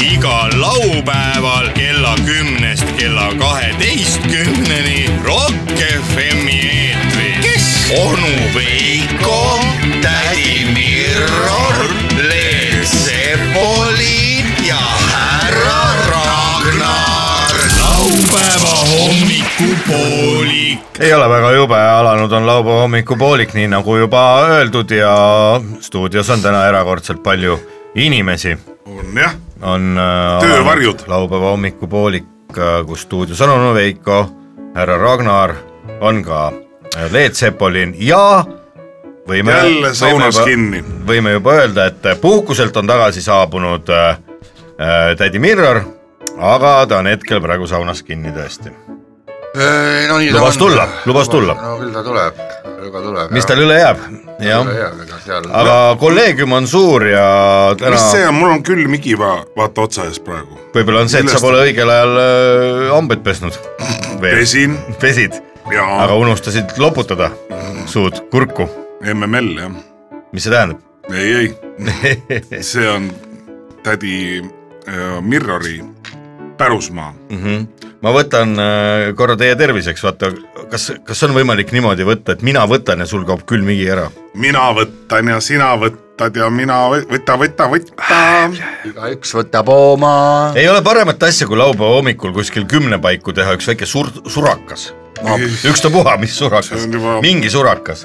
igal laupäeval kella kümnest kella kaheteistkümneni Rock FM-i eetris . kes ? onu Veiko , tädi Mirror , Leel Sepoli ja härra Ragnar . laupäeva hommikupoolik . ei ole väga jube , alanud on laupäeva hommikupoolik , nii nagu juba öeldud ja stuudios on täna erakordselt palju inimesi . on jah , on äh, Töövarjud. alanud laupäeva hommikupoolik , kus stuudios on onu Veiko , härra Ragnar , on ka äh, Leet Sepolin ja võime jälle saunas võime, kinni . juba- võime juba öelda , et äh, puhkuselt on tagasi saabunud äh, äh, tädi Mirror , aga ta on hetkel praegu saunas kinni tõesti . no nii Lubas ta on. tulla, lubas tulla. no küll ta tuleb , küll ta tuleb . mis tal üle jääb ? jah jah ?, ega seal aga... aga kolleegium on suur ja täna mis see on , mul on külm igiva , vaata otsa ees praegu . võib-olla on see , et sa millest- pole õigel ajal öö, hambaid pesnud . pesin pesid , ja aga unustasid loputada suud kurku , MML jah , mis see tähendab ? ei , ei , see on tädi äh, Mirrori pärusmaa . ma võtan öö, korra teie terviseks , vaata , kas , kas on võimalik niimoodi võtta , et mina võtan ja sul kaob külm higi ära ? mina võtan ja sina võtad ja mina võ- võta , võta , võta . igaüks võtab oma . ei ole paremat asja , kui laupäeva hommikul kuskil kümne paiku teha üks väike sur- , surakas . Noh, ükstapuha , mis See surakas on juba- , mingi surakas ,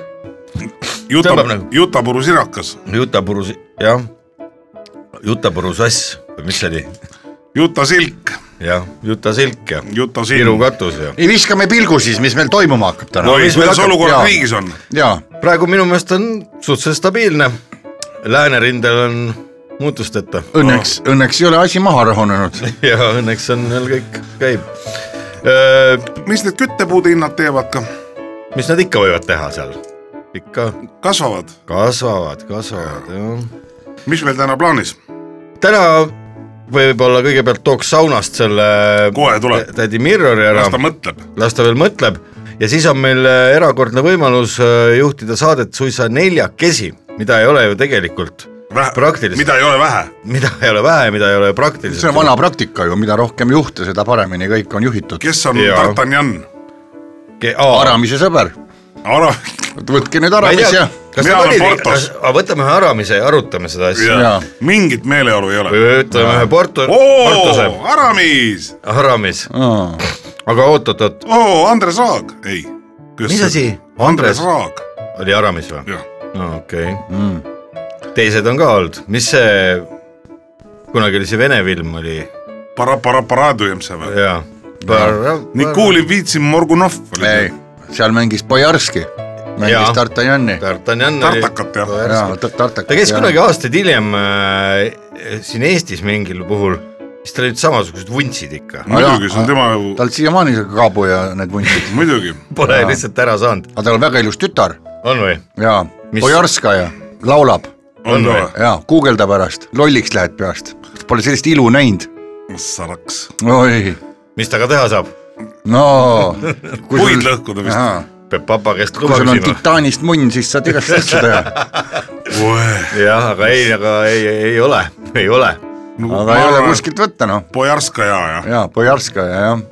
juta tõmbab nagu. , jutapuru sirakas , jutapuru , jah , jutapuru sass või mis see oli ? jutasilk , jah , jutasilk ja Viru jutasilm . katus ja . ei viskame pilgu siis , mis meil toimuma hakkab täna No no, . oi , mis meil kuidas hakkab- olukord jaa. riigis on ? ja praegu minu meelest on suhteliselt stabiilne . läänerindel on muutusteta õnneks no. , õnneks ei ole asi maha rahunenud . ja õnneks on veel kõik käib . mis need küttepuude hinnad teevad ka ? mis nad ikka võivad teha seal ? ikka kasvavad , kasvavad , kasvavad jah . mis meil täna plaanis ? täna võib-olla kõigepealt tooks saunast selle Kohe tuleb. tädi Mirrori ära las ta , mõtleb . las ta veel mõtleb ja siis on meil äh, erakordne võimalus äh, juhtida saadet suisa neljakesi , mida ei ole ju tegelikult , Praktiliselt. mida ei ole vähe . mida ei ole vähe , mida ei ole praktiliselt . see on vana praktika ju , mida rohkem juhte , seda paremini kõik on juhitud . kes on Jaa. Tartanjan ? Aa, Aramise sõber , Ara- , võtke nüüd ma ei Aramis tea ja ,, kas Mina ta olen oli , Portos. võtame ühe aramise ja arutame seda asja Jaa. mingit meeleolu ei ole või . ütleme ühe Porto , Portose oo , Aramis , aramis , Aa, aga oot-oot-oot , oo , Andres Raag , ei . Mis asi? Andres? Andres Raag , oli aramis või ? jah . okei , mm. teised on ka olnud , mis see , kunagi oli see Vene film oli Paraparaparaadujemse või ? ja . Nikuli Vitsin Morgunov oli ei , seal mängis Bojarski , mängis Jaa. Tartanjani . Tartanjan oli , tartakat jah , ta ta käis kunagi aastaid hiljem äh, siin Eestis mingil puhul , siis tal olid samasugused vuntsid ikka , muidugi , see on tema ju , tal siiamaani see kaabu ja need vuntsid , muidugi . pole lihtsalt ära saanud , aga tal on väga ilus tütar on või ? ja Mis- Bojarskaja laulab on või? või ? ja guugelda pärast , lolliks lähed peast , pole sellist ilu näinud . saraks , oi , mis ta ka teha saab , no puid lõhkuda vist . kui peab papa käest luba sul on küsima . titaanist munn , siis saad igast asju teha , jah , aga ei , aga ei , ei ole , ei ole . Nagu aga ei ole . kuskilt võtta noh , Bojarskaja jah , ja Bojarskaja jah ,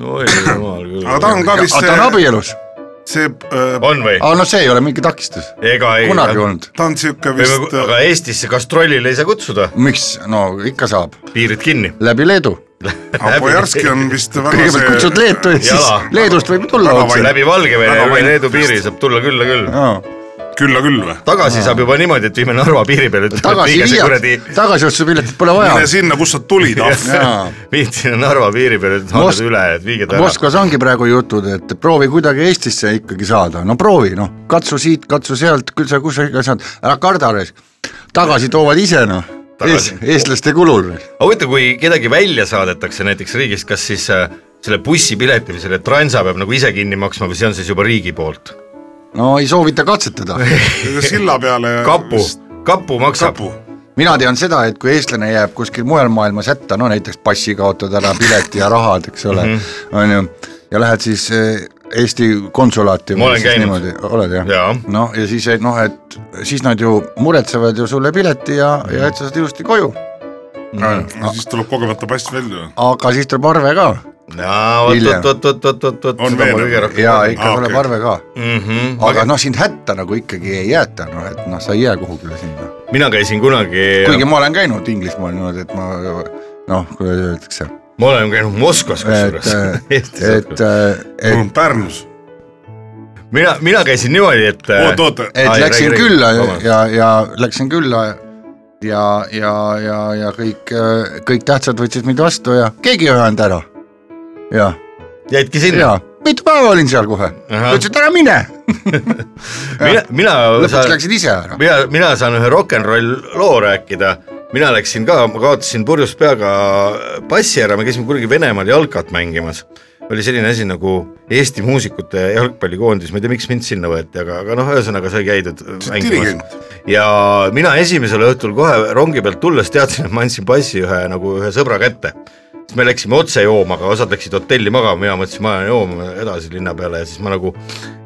oi jumal aga küll . ta on ka vist aga ta on see , abielus , see , on või ? aga noh , see ei ole mingi takistus , ega ei . kunagi olnud , ta on siuke vist , äh, aga Eestisse gastrollile ei saa kutsuda , miks , no ikka saab , piirid kinni . läbi Leedu , Bojarski on vist väga kõigepealt kutsud see , Leetu ja jala. siis Leedust võib tulla Väga otse , läbi Valgevene Väga või vant- Leedu piiri saab tulla küll ja küll . külla küll või ? tagasi saab juba niimoodi , et viime Narva piiri peale , ütleme , et tagasi viige see kuradi , viia , tagasiostupiletit pole vaja mine sinna , kust sa tulid , ahv . jaa viid sinna Narva piiri peale , annad Mosk- üle , et viige ta ära . Moskvas ongi praegu jutud , et proovi kuidagi Eestisse ikkagi saada , no proovi noh , katsu siit , katsu sealt , küll sa kusagil saad , ära karda , tagasi toovad ise noh , ees, Tagasi. eestlaste kulul . aga huvitav , kui kedagi välja saadetakse näiteks riigist , kas siis äh, selle bussipileti või selle transa peab nagu ise kinni maksma või see on siis juba riigi poolt ? no ei soovita katsetada , silla peale . kapu , kapu maksab . kapu . mina tean seda , et kui eestlane jääb kuskil mujal maailmas hätta , no näiteks passi kaotad ära , pileti ja rahad , eks ole , Mhm. on ju , ja lähed siis eh, Eesti konsulaati . Ma olen käinud. . oled Jaa. jah ? noh , ja siis , et noh , et siis nad ju muretsevad ju sulle pileti ja , ja et sa saad ilusti koju siis tuleb kogemata pass välja . aga siis tuleb arve ka no vot , Hiljem. vot , vot , vot , vot , vot , vot , On seda ma veel? kõige rohkem . ja ikka Aa, tuleb okei. arve ka . aga mm . -hmm. noh , sind hätta nagu ikkagi ei jäeta , noh et noh , sa ei jää kuhugile sinna . mina käisin kunagi , kuigi ma olen käinud Inglismaal niimoodi , et ma noh , kuidas öeldakse , ma olen käinud Moskvas et kusjuures , et , Eestis et ,, mul et , on Pärnus . mina , mina käisin niimoodi , et äh, oot , oota , et Ai, läksin räägi, räägi. külla ja- Vabandust. ja , ja läksin külla ja , ja , ja , ja kõik , kõik tähtsad võtsid mind vastu ja keegi ei öelnud ära . ja , jäidki sinna ja , mitu päeva olin seal kohe , Ahah. ütlesid ära mine , mina , mina , lõpuks läksid ise ära . mina , mina saan ühe rock n roll loo rääkida , mina läksin ka , ma kaotasin purjus peaga passi ära , me käisime kunagi Venemaal jalkat mängimas . oli selline asi nagu Eesti muusikute jalgpallikoondis , ma ei tea , miks mind sinna võeti , aga , aga noh , ühesõnaga sai käidud mängimas dirigent. . ja mina esimesel õhtul kohe rongi pealt tulles teadsin , et ma andsin passi ühe nagu ühe sõbra kätte siis me läksime otse jooma , aga osad läksid hotelli magama , mina mõtlesin , ma lähen jooma edasi linna peale ja siis ma nagu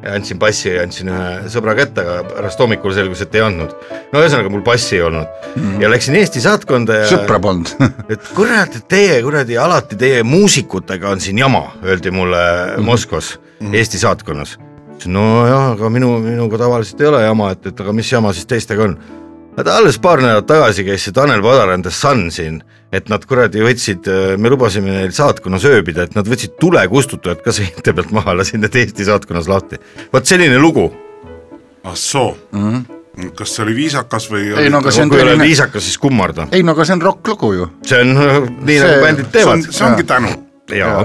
andsin passi ja andsin ühe sõbra kätte , aga pärast hommikul selgus , et ei andnud . no ühesõnaga mul passi ei olnud mm -hmm. ja läksin Eesti saatkonda ja sõpra polnud . et kurat , et teie kuradi alati teie muusikutega on siin jama , öeldi mulle Moskvas mm , -hmm. Eesti saatkonnas . nojah , aga minu , minuga tavaliselt ei ole jama , et , et aga mis jama siis teistega on . Nad alles paar nädalat tagasi käis see Tanel Padar and the Sun siin , et nad kuradi võtsid , me lubasime neil saatkonnas ööbida , et nad võtsid tulekustutajad ka seinte pealt maha , lasid need Eesti saatkonnas lahti . vot selline lugu . ah soo , kas see oli viisakas või ? Mhm. ei no aga see on kui ei ole tõeline , viisakas , siis kummarda . ei no aga see on rokklugu ju , see on nii , See- nagu bändid see teevad on ,. see ongi tänu . jaa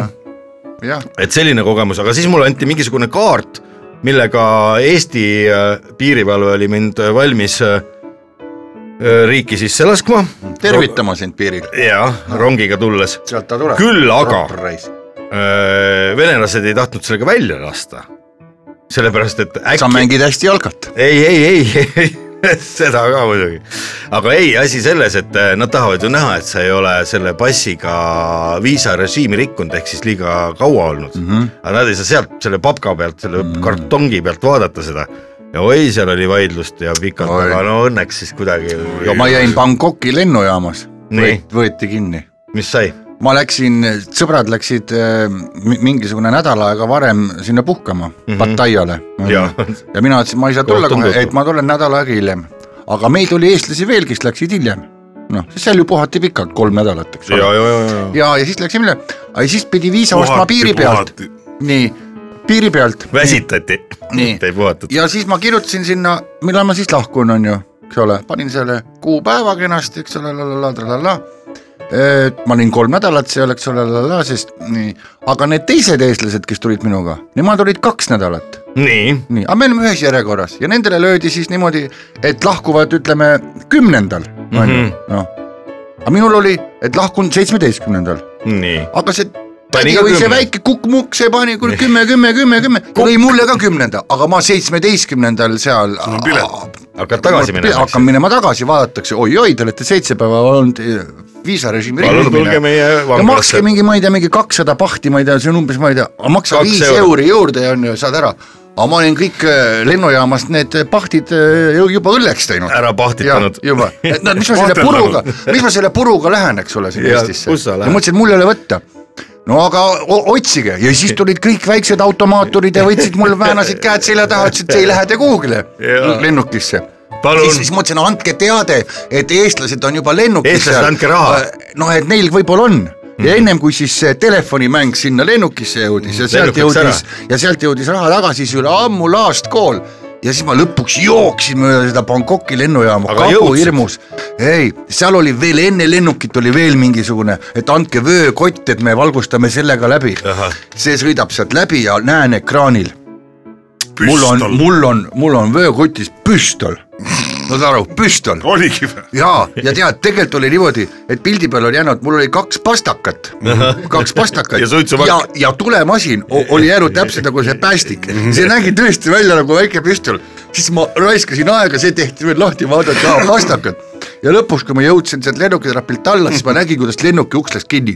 jah . et selline kogemus , aga siis mulle anti mingisugune kaart , millega Eesti äh, piirivalve oli mind äh, valmis äh, äh, riiki sisse laskma . tervitama sind piiril , jaa , rongiga tulles . sealt ta tuleb . Küll aga- Äh, venelased ei tahtnud sellega välja lasta . sellepärast , et sa äkki , mängid hästi jalkat . ei , ei , ei , ei , seda ka muidugi . aga ei , asi selles , et äh, nad tahavad ju näha , et sa ei ole selle passiga viisarežiimi rikkunud , ehk siis liiga kaua olnud mm . Mhm. -hmm. aga nad ei saa sealt selle papka pealt , selle mm -hmm. kartongi pealt vaadata seda . ja oi , seal oli vaidlust ja pikalt , Oi. aga no õnneks siis kuidagi . ma jäin Bangkoki lennujaamas , Nii. võeti kinni . mis sai ? ma läksin , sõbrad läksid äh, mi- mingisugune nädal aega varem sinna puhkama mm -hmm. Pataiale . Mhm. Jaa. ja mina ütlesin , ma ei saa tulla Koht on kohe , tuttav. et ma tulen nädal aega hiljem . aga meid oli eestlasi veel , kes läksid hiljem . noh , seal ju puhati pikalt , kolm nädalat , eks ja , ole . ja , ja , ja . ja , ja siis läksime üle , aga siis pidi viisa ostma piiri pealt , nii , piiri pealt . väsitati . Nii. ei puhatud . ja siis ma kirjutasin sinna , millal ma siis lahkun , on ju , eks ole , panin selle kuupäeva kenasti , eks ole , la-la-la-la-la-la . ma olin kolm nädalat seal , eks ole , la-la-la , sest nii , aga need teised eestlased , kes tulid minuga , nemad olid kaks nädalat , nii , nii , aga me olime ühes järjekorras ja nendele löödi siis niimoodi , et lahkuvad , ütleme kümnendal , on ju Mhm. , noh . aga minul oli , et lahkun seitsmeteistkümnendal , nii . aga see Pani tädi ka või see kümne. väike kukkmukk , see pani küll kümme , kümme , kümme , kümme , lõi mulle ka kümnenda , aga ma seitsmeteistkümnendal seal on pilet. hakkad tagasi minema . hakkan minema tagasi , vaadatakse oi-oi , te olete seitse päeva olnud eh, viisarežiimi palun tulge rikkumine . meie ja vanglasse makske . mingi , ma ei tea , mingi kakssada pahti , ma ei tea , see on umbes , ma ei tea , maksa Kaks viis eurot. euri juurde ja on ju , saad ära . aga ma olin kõik eh, lennujaamast need pahtid eh, ju- juba õlleks teinud . ära pahtitanud . juba , et no mis ma selle Vahteldagu. puruga , mis ma selle puruga lähen , eks ole , sinna Jaa, Eestisse . kus sa ja lähed? mõtlesin , et mul ei ole võtta . no aga o- otsige ja siis tulid kõik väiksed automaaturid ja võtsid mul , väänasid käed selja taha , ütlesid , te ei lähe te kuhugile Jaa. lennukisse . Palun. siis, siis mõtlesin , andke teade , et eestlased on juba lennukis Eestlased, andke raha. . Mhm. noh , et neil võib-olla on ja ennem kui siis see telefonimäng sinna lennukisse jõudis ja sealt Lennuk läks jõudis ja sealt jõudis raha tagasi , siis oli ammu last call ja siis ma lõpuks jooksin mööda seda Bangkoki lennujaama , Aga kabu jõudsid? hirmus . ei , seal oli veel enne lennukit oli veel mingisugune , et andke vöökott , et me valgustame sellega läbi Ahah. . see sõidab sealt läbi ja näen ekraanil , mul on , püstol , mul on , mul on vöökotis püstol . saad aru , püstol oligi või ? jaa , ja tead , tegelikult oli niimoodi , et pildi peal oli jäänud , mul oli kaks pastakat , kaks pastakat Ja suitsupakk. ja , ja tulemasin o- oli jäänud täpselt nagu see päästik , see nägi tõesti välja nagu väike püstol , siis ma raiskasin aega , see tehti veel lahti , vaadati , aa pastakad . ja lõpuks , kui ma jõudsin sealt lennukitrapilt alla , siis ma nägin , kuidas lennuki uks läks kinni ,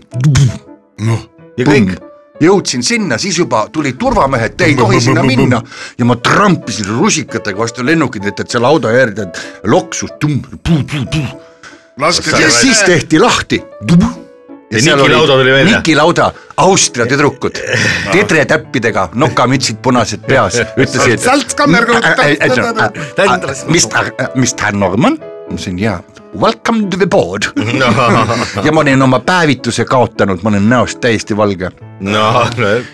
noh , ja kõik . jõudsin sinna , siis juba tulid turvamehed , te ei tohi sinna minna ja ma trampisin rusikatega vastu lennukit , et , et see lauda äärde loksus . laske ja see siis tehti lahti . Ja Niki lauda tuli välja. Niki lauda , Austria tüdrukud , tedretäppidega , nokamütsid punased peas , ütlesid . Salzkammer- mis , mis ta Norman ? ma ütlesin jaa , welcome to the board ja ma olin oma päevituse kaotanud , ma olin näost täiesti valge . no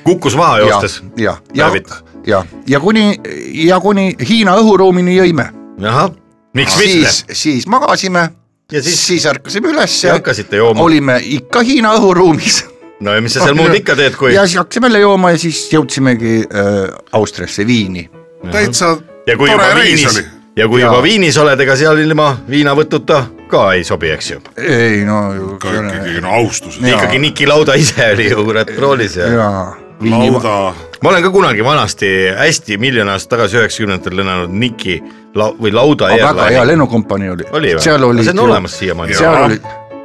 kukkus maha ja , joostes . ja , ja Päevitus. , ja , ja kuni ja kuni Hiina õhuruumini jõime , ahah , miks mitte siis , siis magasime Ja ja siis- siis, siis ärkasime üles Ja hakkasite jooma. olime ikka Hiina õhuruumis no ja mis sa seal muud ikka teed , kui ja siis hakkasime jälle jooma ja siis jõudsimegi äh, Austriasse Viini . täitsa ja kui juba tore reis Viinis oli ., ja kui Jaa. juba Viinis oled , ega seal ilma viinavõtuta ka ei sobi , eks ju . ei no , ikka ikkagi no austuses . Jaa. ikkagi Niki Lauda ise oli ju kurat roolis ja jaa , Viini , lauda , ma olen ka kunagi vanasti hästi miljon aastat tagasi üheksakümnendatel lennanud Niki lau- või Lauda väga hea Airline'i . lennukompanii oli, oli või ? seal olid see on ju- olemas siiamaani . seal Jaa. oli ,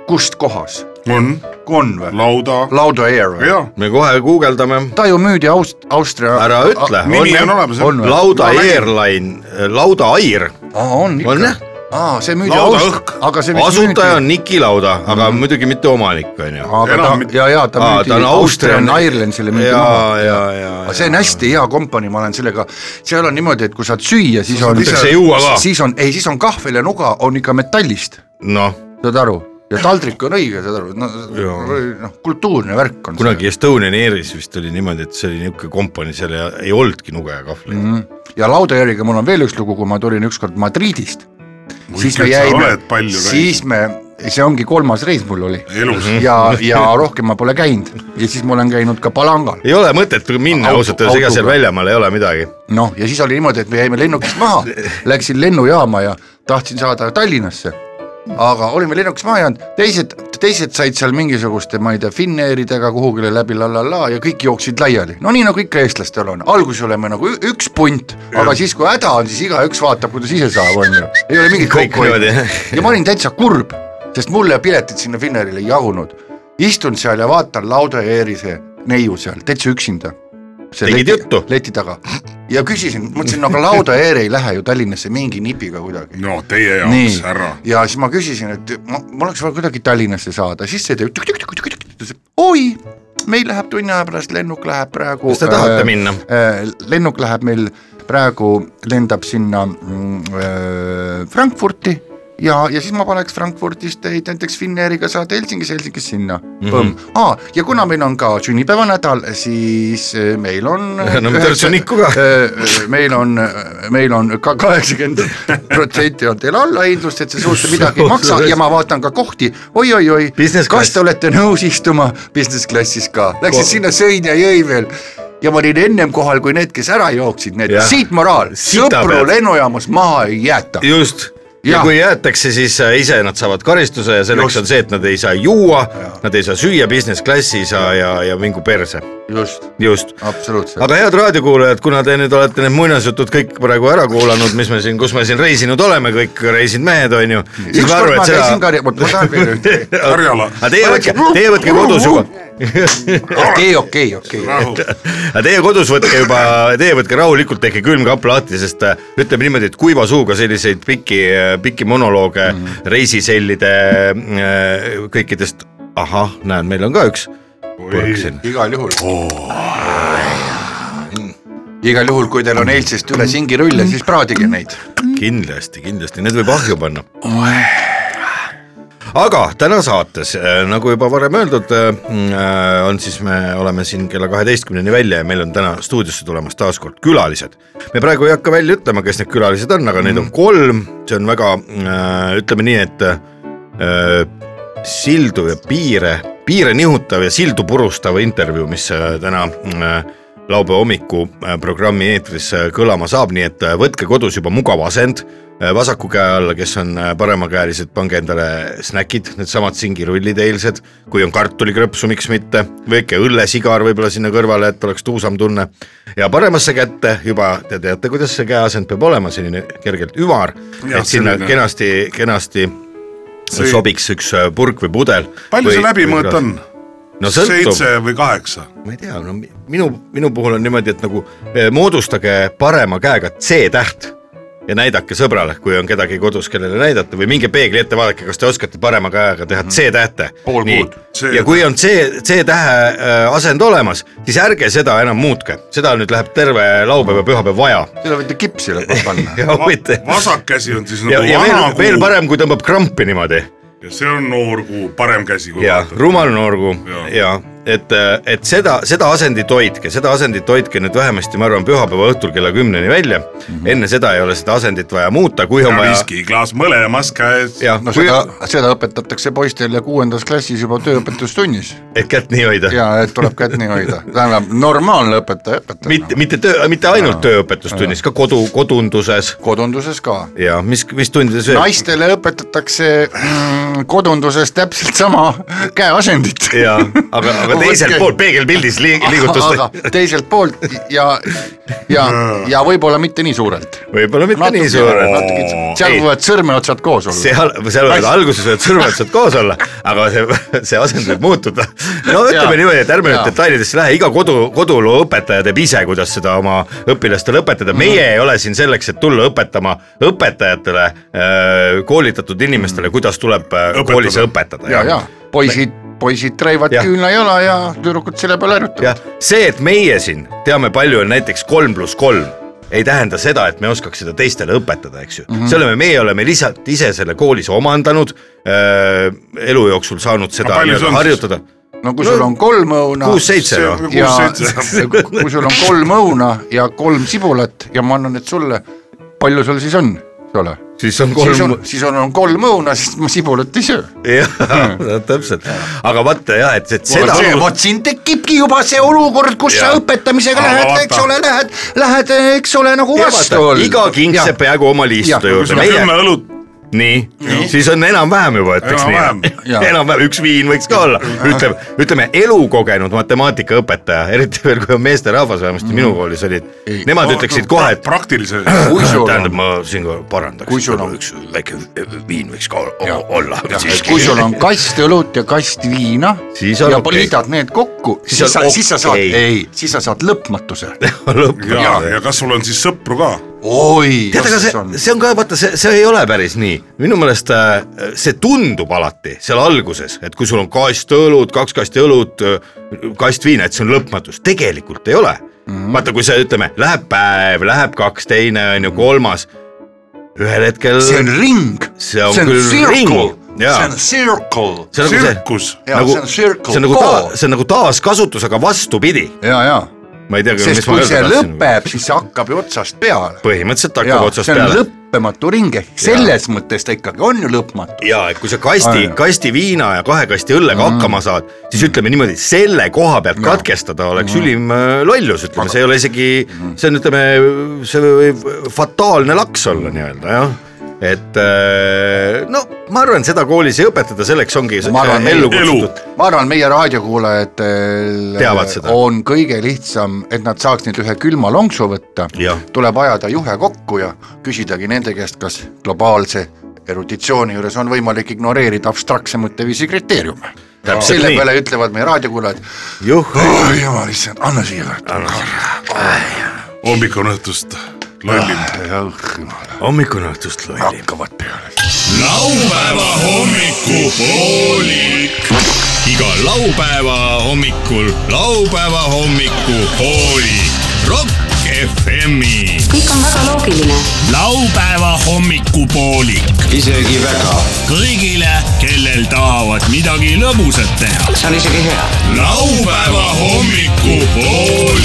kust kohas ? on Konve , lauda , Laudo Air või ? jaa , me kohe guugeldame , ta ju müüdi Aust- , Austria . ära ütle . nimi on olemas jah . on või? Lauda Ma nägin. Airline , Lauda Air , aa , on ikka . On jah. aa , see müüdi Lauda Aust- õhk. , aga see . asutaja on Niki Lauda , aga muidugi mitte omanik , on ju . aga Enam ta mitte- ja , ja ta Aa, müüdi ta on Austrian Austrian- Airlandsile müüdi maha . ja , ja , ja aga . see on hästi hea kompanii , ma olen sellega , seal on niimoodi , et kui saad süüa , siis on , Sa ei juua ka. siis on , ei , siis on kahvel ja nuga on ikka metallist , noh , saad aru , ja taldrik on õige , saad aru , noh , noh , kultuurne värk on . kunagi Estonian Airis vist oli niimoodi , et see oli niisugune kompanii , seal ei, ei olnudki nuge ja kahvleid mm . ja Laudajärviga mul on veel üks lugu , kui ma tulin ükskord Madridist , siis me ikka, sa jäime oled , palju siis me , see ongi kolmas reis mul oli Mhm. elus . ja , ja rohkem ma pole käinud ja siis ma olen käinud ka Palangal , ei ole mõtet minna Auto- ausalt öeldes , ega seal autoga. väljamaal ei ole midagi . noh , ja siis oli niimoodi , et me jäime lennukist maha , läksin lennujaama ja tahtsin saada Tallinnasse . aga olime lennukist maha jäänud , teised , teised said seal mingisuguste , ma ei tea , Finnairidega kuhugile läbi la la la ja kõik jooksid laiali , no nii nagu ikka eestlastel on , alguses oleme nagu ü- üks punt , aga siis , kui häda on , siis igaüks vaatab , kuidas ise saab , on ju , ei ole mingit Kõik kokkuhoidu niimoodi. ja ma olin täitsa kurb , sest mulle piletid sinna Finnairile ei jagunud . istun seal ja vaatan Lauda ja Eeri see neiu seal täitsa üksinda . Tegid juttu? leti taga ja küsisin , mõtlesin , aga Lauda ja Eeri ei lähe ju Tallinnasse mingi nipiga kuidagi . no teie nii jaoks , härra . ja siis ma küsisin , et ma, ma oleks vaja kuidagi Tallinnasse saada , siis see teeb tükk-tükk-tükk-tükk-tükk , ütles , et oi , meil läheb tunni aja pärast , lennuk läheb praegu . kas te tahate minna ? Äh, lennuk läheb meil praegu , lendab sinna mm, äh, Frankfurti ja , ja siis ma paneks Frankfurdist teid näiteks Finnairiga saada Helsingis , Helsingis sinna mm . Mhm. -hmm. Ah, ja kuna meil on ka sünnipäevanädal , siis äh, meil on No me tõrtsu nikku ka. Äh, meil on , meil on ka kaheksakümmend protsenti on teil allahindlust , et see suurt midagi ei maksa ja ma vaatan ka kohti oi, , oi-oi-oi , Business kas class. te olete nõus istuma business klassis ka , läksin Ko- sinna , sõin ja jõin veel ja ma olin ennem kohal kui need , kes ära jooksid , need Jah. siit moraal , Sita sõpru pead. lennujaamas maha ei jäeta . just . ja Jah. kui jäetakse , siis äh, ise nad saavad karistuse ja selleks Just. on see , et nad ei saa juua , nad ei saa süüa , business klassi ei saa ja , ja mingu perse , just , just . absoluutselt . aga head raadiokuulajad , kuna te nüüd olete need muinasjutud kõik praegu ära kuulanud , mis me siin , kus me siin reisinud oleme , kõik reisinud mehed , on ju . ükskord ma käisin ka , ma tahan veel ühte . Karjala , aga teie võtke , teie võtke kodus juba , okei , okei , okei . rahu . aga teie kodus võtke juba , teie võtke rahulikult , tehke külmkapp lahti , sest äh, ütleme niimoodi , et kuiva suuga selliseid pikki , pikki monolooge mm -hmm. reisisellide äh, kõikidest , ahah , näed , meil on ka üks põrk siin . igal juhul oh. . igal juhul , kui teil on eilsest üle singirulle , siis praadige neid . kindlasti , kindlasti , need võib ahju panna . aga täna saates , nagu juba varem öeldud , on siis me oleme siin kella kaheteistkümneni välja ja meil on täna stuudiosse tulemas taas kord külalised . me praegu ei hakka välja ütlema , kes need külalised on , aga neid on kolm , see on väga , ütleme nii , et äh, sildu ja piire , piire nihutav ja sildu purustav intervjuu , mis äh, täna äh, laupäeva hommiku äh, programmi eetris äh, kõlama saab , nii et äh, võtke kodus juba mugav asend äh, vasaku käe alla , kes on äh, paremakäelised , pange endale snäkid , needsamad singirullid eilsed , kui on kartulikrõpsu , miks mitte , väike õllesigar võib-olla sinna kõrvale , et oleks tuusam tunne ja paremasse kätte juba te teate , kuidas see käeasend peab olema , selline kergelt üvar , et Jah, sinna selline. kenasti , kenasti see... See- sobiks üks äh, purk või pudel . palju see läbimõõt on ? no sõltub , seitse või kaheksa ? ma ei tea , no mi- äh, minu , minu puhul on niimoodi , et nagu eh, moodustage parema käega C-täht ja näidake sõbrale , kui on kedagi kodus , kellele näidata või minge peegli ette , vaadake , kas te oskate parema käega teha Mhm. C-tähte . Pool kuud. ja kui on C , C-tähe äh, asend olemas , siis ärge seda enam muutke , seda nüüd läheb terve laupäev ja pühapäev vaja . selle võite kipsile panna . ja võite vasak käsi on siis nagu ja , ja veel vana , veel kuu parem , kui tõmbab krampi niimoodi ja see on noor kuu , parem käsi kui ja rumal noorgu Jaa. ja et , et seda , seda asendit hoidke , seda asendit hoidke nüüd vähemasti , ma arvan , pühapäeva õhtul kella kümneni välja mm . Mhm. -hmm. enne seda ei ole seda asendit vaja muuta , kui on ja vaja . viskiklaas mõlemas käes . jah no kui... , seda , seda õpetatakse poistele kuuendas klassis juba tööõpetustunnis et kätt nii hoida . ja et tuleb kätt nii hoida , tähendab normaalne õpetaja õpetab mitte , mitte töö , mitte ainult tööõpetustunnis , ka kodu , kodunduses kodunduses ka ja mis , mis tundides veel . naistele õpetatakse mm, kodunduses täpselt sama käeasendit . ja , aga , aga teiselt poolt peegelpildis liig- liigutust aga teiselt poolt ja , ja , ja võib-olla mitte nii suurelt . võib-olla mitte nii suurelt . seal Ei. võivad sõrmeotsad koos olla . seal , seal võivad alguses võivad sõrmed sealt koos olla , aga see , see asend võib muutuda . no ütleme Jaa. niimoodi , et ärme nüüd Jaa. detailidesse lähe , iga kodu , koduloo õpetaja teeb ise , kuidas seda oma õpilastele õpetada , meie Mhm. ei ole siin selleks , et tulla õpetama õpetajatele , koolitatud inimestele , kuidas tuleb öö, Õpetada. koolis õpetada . ja , ja poisid , poisid treivad Jah. küünlajala ja tüdrukud selle peale jah harjutavad ., see , et meie siin teame , palju on näiteks kolm pluss kolm , ei tähenda seda , et me oskaks seda teistele õpetada , eks ju mm . -hmm. Mhm. see oleme , meie oleme lihtsalt ise selle koolis omandanud äh, , elu jooksul saanud Aga seda palju see nii-öelda on harjutada . no kui sul on kolm õuna . kuus-seitse see noh . on ja kuus-seitse . kui sul on kolm õuna ja kolm sibulat ja ma annan need sulle , palju sul siis on , eks ole ? siis on siis on kolm ,, siis on, on kolm õuna , sest ma sibulat ei söö . jah , Hmm. täpselt . aga vaata jah , et , et seda see , vot siin tekibki juba see olukord , kus ja. Jaa. sa õpetamisega Aga lähed , vaata- eks ole , lähed , lähed , eks ole , nagu Ja vastu vaata, iga king Jaa. saab peaaegu oma Jah. liistude kui juurde , sul on meie kümme õlut , nii , siis on enam-vähem juba , ütleks nii Enam-vähem. . Jaa. enam-vähem , üks viin võiks ka olla , ütleme , ütleme elukogenud matemaatikaõpetaja , eriti veel kui on meesterahvas , vähemasti minu Mm-hmm. koolis olid , nemad ütleksid kohe , et praktilise , kui sul on- tähendab , ma siinkohal parandaks , Kui sul on- üks väike viin võiks ka o- olla . kui sul on kast õlut ja kast viina Siis on ja okei. okay. liidad need kokku , on siis sa , siis sa saad , okei. ei , siis sa saad lõpmatuse . lõpp . ja , ja kas sul on siis sõpru ka ? oi , tead , aga see , see on ka vaata , see , see ei ole päris nii , minu meelest äh, see tundub alati seal alguses , et kui sul on kast õlut , kaks kasti õlut , kast viina , et see on lõpmatus , tegelikult ei ole mm . Mhm. -hmm. vaata , kui see ütleme , läheb päev , läheb kaks , teine on ju kolmas , ühel hetkel see on ring , See on see on küll ring, circle , jaa. see on circle . see on nagu see , tsirkus . Jaa, nagu see on circle see on nagu ball. ta- , see on nagu taaskasutus , aga vastupidi , ja , ja , ma ei tea , sest mis ma kui see öelda tahtsin . lõpeb , siis see hakkab ju otsast peale . põhimõtteliselt ja hakkab otsast see on peale lõppematu ring , ehk selles mõttes ta ikkagi on ju lõpmatu . ja et kui sa kasti Aa, , kasti viina ja kahe kasti õllega mm. hakkama saad , siis ütleme niimoodi , selle koha pealt ja. katkestada oleks mm. ülim äh, lollus , ütleme , see ei ole isegi , see on , ütleme , see võib fataalne laks olla nii-öelda jah , et äh, no ma arvan , seda koolis ei õpetata , selleks ongi see Ma arvan, ellu elu. kutsutud . ma arvan , meie raadiokuulajatel Teavad seda. on kõige lihtsam , et nad saaks nüüd ühe külma lonksu võtta Jah. , tuleb ajada juhe kokku ja küsidagi nende käest , kas globaalse eruditsiooni juures on võimalik ignoreerida abstraktse mõtteviisi kriteeriume . Täpselt selle nii. peale ütlevad meie raadiokuulajad , juh , oh jumal issand , anna siia kartul . hommik on õhtust lollim . hommikune õhtust lolli . hakkavad peale . laupäeva hommikupoolik . iga laupäeva hommikul laupäeva hommikupoolik . Rock FM-i . kõik on väga loogiline . laupäeva hommikupoolik . isegi väga . kõigile , kellel tahavad midagi lõbusat teha . see on isegi hea . laupäeva hommikupoolik .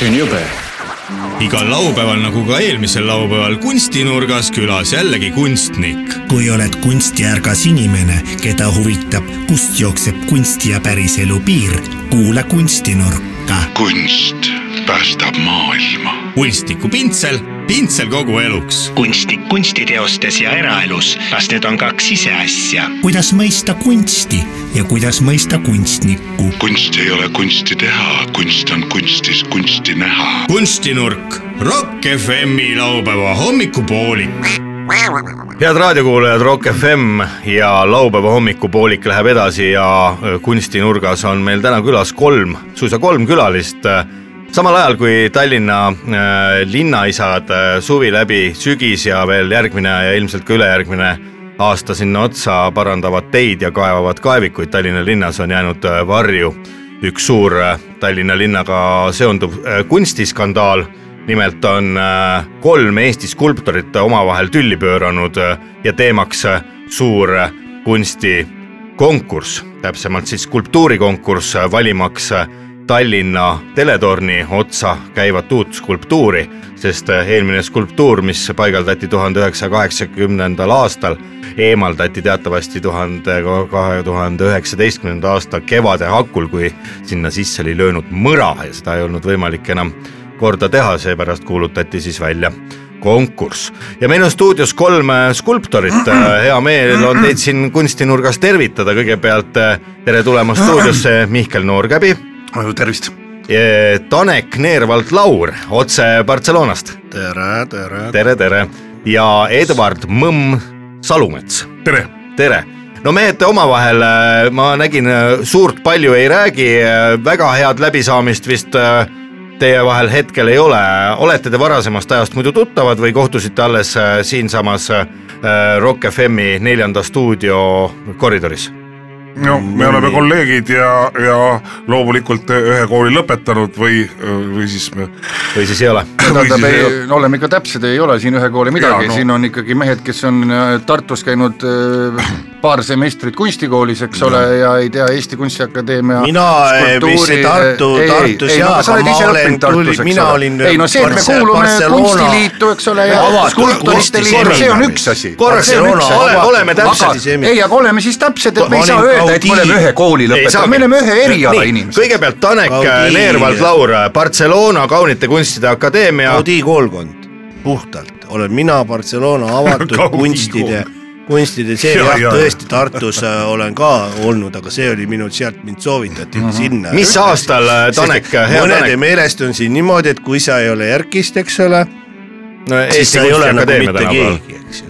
see on jube igal laupäeval nagu ka eelmisel laupäeval Kunstinurgas külas jällegi kunstnik . kui oled kunstiärgas inimene , keda huvitab , kust jookseb kunsti ja päriselu piir , kuula kunstinurka . kunst päästab maailma . kunstniku pintsel , pintsel kogu eluks . kunstnik kunstiteostes ja eraelus , kas need on kaks iseasja ? kuidas mõista kunsti ja kuidas mõista kunstnikku . kunst ei ole kunsti teha , kunst on kunstis kunsti näha . kunstinurk , Rock FM-i laupäeva hommikupoolik . head raadiokuulajad , Rock FM ja laupäeva hommikupoolik läheb äh, edasi ja öö, kunstinurgas on meil täna külas kolm , suisa kolm külalist . samal ajal kui Tallinna äh, linnaisad äh, suvi läbi , sügis ja veel järgmine ja ilmselt ka ülejärgmine aasta sinna otsa parandavad teid ja kaevavad kaevikuid Tallinna linnas , on jäänud äh, varju üks suur äh, Tallinna linnaga seonduv äh, kunstiskandaal . nimelt on äh, kolm Eesti skulptorit omavahel tülli pööranud äh, ja teemaks äh, suur äh, kunsti konkurss , täpsemalt siis skulptuurikonkurss , valimaks äh, Tallinna teletorni otsa käivat uut skulptuuri , sest äh, eelmine skulptuur , mis paigaldati tuhande üheksasaja kaheksakümnendal aastal , eemaldati teatavasti tuhande , kahe tuhande üheksateistkümnenda aasta kevade hakul , kui sinna sisse oli löönud mõra ja seda ei olnud võimalik enam korda teha , seepärast kuulutati siis välja konkurss ja meil on stuudios kolm äh, skulptorit , hea meel on teid siin kunstinurgas tervitada , kõigepealt äh, tere tulemast stuudiosse , Mihkel Noorkäbi , tervist . Tanek Neervald-Laur otse Barcelonast , tere , tere . tere , tere ja Edward Mõmm Salumets tere , tere , no mehed omavahel , ma nägin , suurt palju ei räägi , väga head läbisaamist vist äh, teie vahel hetkel ei ole , olete te varasemast ajast muidu tuttavad või kohtusite alles äh, siinsamas äh, Rock FM-i neljanda stuudio koridoris ? no me oleme kolleegid ja , ja loomulikult ühe kooli lõpetanud või , või siis me või siis ei ole ? tähendab , Või ei siis , no oleme ikka täpsed , ei ole siin ühe kooli midagi , Jaa, no. no. siin on ikkagi mehed , kes on äh, Tartus käinud äh, paar semestrit kunstikoolis , eks ole , ja ei tea Eesti Kunstiakadeemia . Mina, eh, mis see Tartu- Tartus jaa, aga ma olen küll- mina olin, ei no see , et me Barce- kuulume Barcelona- kunstiliitu , eks ole , ja Avatud skulptorite liitu , see on kunstiseminari. üks asi . Korraks- oleme- oleme täpsed siis, aga ei , aga oleme siis täpsed , et me Ma ei saa olin öelda , et me Gaudi- oleme ühe kooli lõpetanud , me oleme ühe eriala inimesed . kõigepealt Tanek äh, Gaudi- Neervald-Laur , äh, Barcelona Kaunite Kunstide Akadeemia , Audi koolkond , puhtalt , olen mina Barcelona avatud Gaudi kunstide , kunstide see Ja, jah ja. , tõesti Tartus äh, olen ka olnud , aga see oli minu , sealt mind soovitati mm -hmm. sinna . mis aastal äh, Tanek , hea mõnede Tanek , meelest on siin niimoodi , et kui sa ei ole ERK-ist , eks ole , siis Eesti sa ei ole nagu Kunstiakadeemia mitte tänapäeval . keegi , eks ju .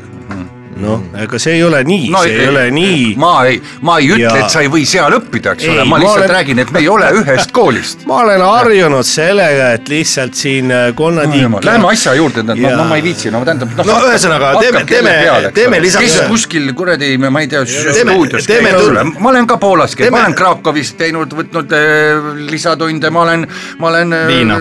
noh , ega see ei ole nii no, , see ei, ei ole nii . ma ei , ma ei ütle , Ja- et sa ei või seal õppida , eks Ei, ole , ma ma lihtsalt olen... olen- räägin , et me ei ole ühest koolist . ma olen harjunud sellega , et lihtsalt siin äh, konnatiik no, Läheme asja juurde , tähendab , Jaa. no ma ei viitsi , no tähendab . noh, No ühesõnaga, teeme- teeme- teeme lisaks- kes kuskil kuradi , ma ei tea , Teeme- stuudios teeme käinud tulla. ole. ma olen ka Poolas käinud , ma Teeme- olen Krakowis teinud , võtnud eh, lisatunde , ma olen , ma olen . Viina.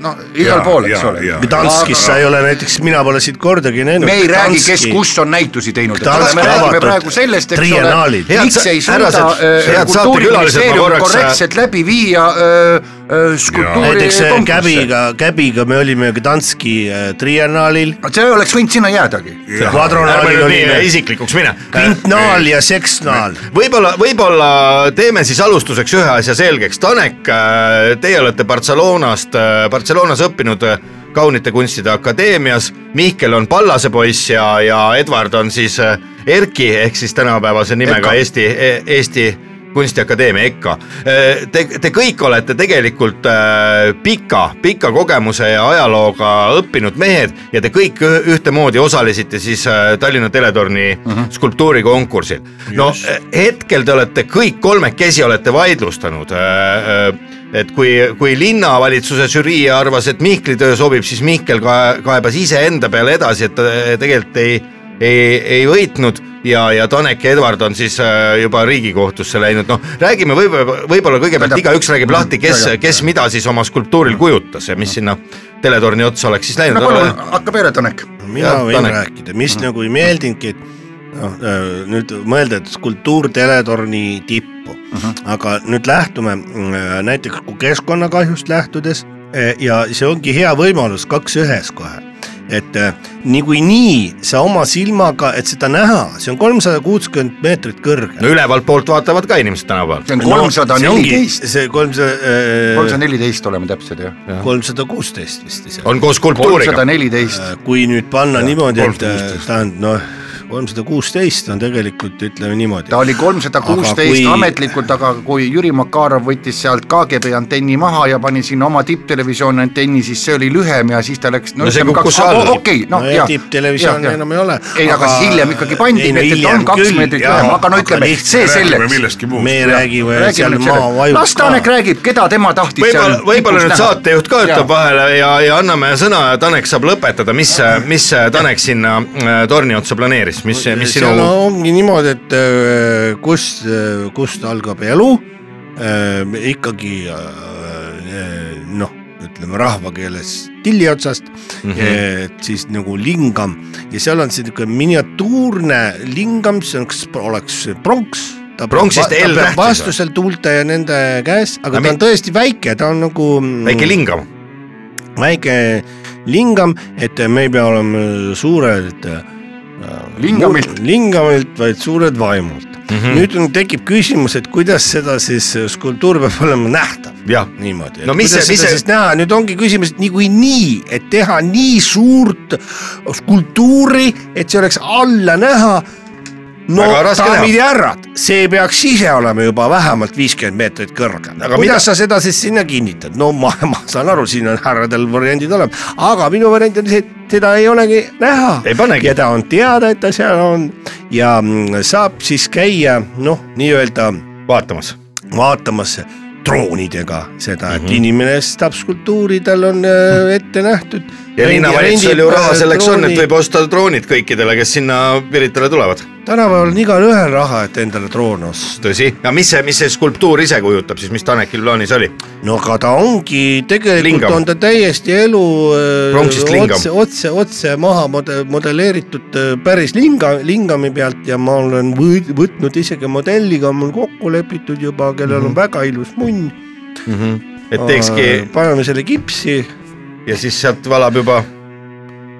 noh , igal Jaa, pool , jaa, eks ole jaa. Gdanskis sa ei ole näiteks , mina pole sind kordagi näinud . me ei räägi , kes kus on näitusi teinud , eks ole , Gdanski me räägime avatud praegu sellest , eks ole triennaalid. , Head miks sa- ei härrased, suuda äh, head saatekülalised, ma kultuuriministeerium korraks- korrektselt läbi viia äh, äh, näiteks äh, skulptuuri . Käbiga , Käbiga me olime Gdanski äh, triennaalil , see oleks võinud sinna jäädagi . ärme kvadronaalil nüüd olime nii , isiklikuks mine . Äh, kvintnaal ja seksnaal . võib-olla , võib-olla teeme siis alustuseks ühe asja selgeks , Tanek , teie olete Barcelonast , Barcelonas õppinud äh, kaunite kunstide akadeemias , Mihkel on Pallase poiss ja , ja Edward on siis äh, Erki ehk siis tänapäevase nimega Eka. Eesti , Eesti kunstiakadeemia EKA . Te , te kõik olete tegelikult äh, pika , pika kogemuse ja ajalooga õppinud mehed ja te kõik ühe- ühtemoodi osalesite siis äh, Tallinna teletorni mm -hmm. skulptuurikonkursil . no äh, hetkel te olete kõik kolmekesi olete vaidlustanud äh, äh, et kui , kui linnavalitsuse žürii arvas , et Mihkli töö sobib , siis Mihkel ka- kaebas iseenda peale edasi , et ta tegelikult ei , ei , ei võitnud ja , ja Tanek ja Edward on siis äh, juba Riigikohtusse läinud , noh , räägime võib-olla , võib-olla kõigepealt Tähendab- igaüks räägib lahti , kes Jaa, jaa. , kes mida siis oma skulptuuril kujutas ja mis sinna teletorni otsa oleks siis läinud no . palun , hakka peale , Tanek . mina Jah, Mm. võin Tanel. rääkida , mis nagu ei meeldinudki , et noh , nüüd mõelda , et kultuurteletorni tippu uh , Mhm. -huh. aga nüüd lähtume mm, näiteks kui keskkonnakahjust lähtudes eh, ja see ongi hea võimalus kaks ühes kohe , et eh, niikuinii sa oma silmaga , et seda näha , see on kolmsada kuuskümmend meetrit kõrge . no ülevalt poolt vaatavad ka inimesed tänapäeval . see on kolmsada neliteist , see kolmsada , kolmsada neliteist oleme täpsed jah . kolmsada kuusteist vist isegi . on koos skulptuuriga kolmsada . neliteist , kui nüüd panna ja, niimoodi , et eh, tähendab noh , kolmsada kuusteist on tegelikult ütleme niimoodi ta . oli kolmsada kuusteist Aga kui- ametlikult , aga kui Jüri Makarov võttis sealt KGB antenni maha ja pani sinna oma tipptelevisiooni antenni , siis see oli lühem ja siis ta läks . No see kukkus alla. okei , no noh ja tipptelevisiooni enam ei ole . ei , aga siis hiljem ikkagi pandi , nii et , et ta on kaks meetrit lühem , aga no ütleme , see selleks . millestki muust . me räägime seal maa vajub las Tanek räägib , keda tema tahtis võib-olla , võib-olla nüüd tipus näha. saatejuht ka Jaa. ütleb vahele ja , ja anname sõna ja Tanek saab lõpetada , mis , mis Tanek sinna äh, torni otsa planeeris , mis , mis sinu seal ongi niimoodi , et öö, kus , kust algab elu , ikkagi öö, noh , ütleme rahvakeeles tilli otsast mm , Mhm. -hmm. et siis nagu lingam ja seal on see niisugune miniatuurne lingam , see on , kas oleks pronks . Pronksist L tähtis või? vastusel tuulte ja nende käes , aga Aga ta mi- on tõesti väike , ta on nagu . väike lingam , väike lingam , et me ei pea olema suured . Lingamilt. . lingamilt , vaid suured vaimult mm . -hmm. nüüd on , tekib küsimus , et kuidas seda siis eh, skulptuur peab olema nähtav . jah . niimoodi , et No no, mis kuidas see- mis see, seda see- see... siis näha , nüüd ongi küsimus , et niikuinii , et teha nii suurt skulptuuri , et see oleks alla näha . no Väga raske daamid ja härrad , see peaks ise olema juba vähemalt viiskümmend meetrit kõrge . Aga kuidas mida- mida... sa seda siis sinna kinnitad , no ma , ma saan aru , siin on härradel variandid olemas , aga minu variant on see , et seda ei olegi näha . Ei panegi. ja ta on teada , et ta seal on ja mm, saab siis käia noh , nii-öelda vaatamas . vaatamas droonidega seda , Mhm. et mm -hmm. inimene ostab skulptuuri , tal on äh, ette nähtud . ja linnavalitsusel ju raha selleks on , et võib osta droonid kõikidele , kes sinna Piritale tulevad . tänapäeval on igalühel raha , et endale droon osta . tõsi , aga mis see , mis see skulptuur ise kujutab siis , mis Tanekil plaanis oli ? no aga ta ongi , tegelikult Lingam. lingam. on ta täiesti elu äh, Pronksist lingam. otse , otse , otse maha mode- , modelleeritud äh, päris linga , lingami pealt ja ma olen võ- võtnud isegi modelliga , on mul kokku lepitud juba , kellel mm -hmm. on väga ilus munn . Mhm. et teekski paneme selle kipsi ja siis sealt valab juba ,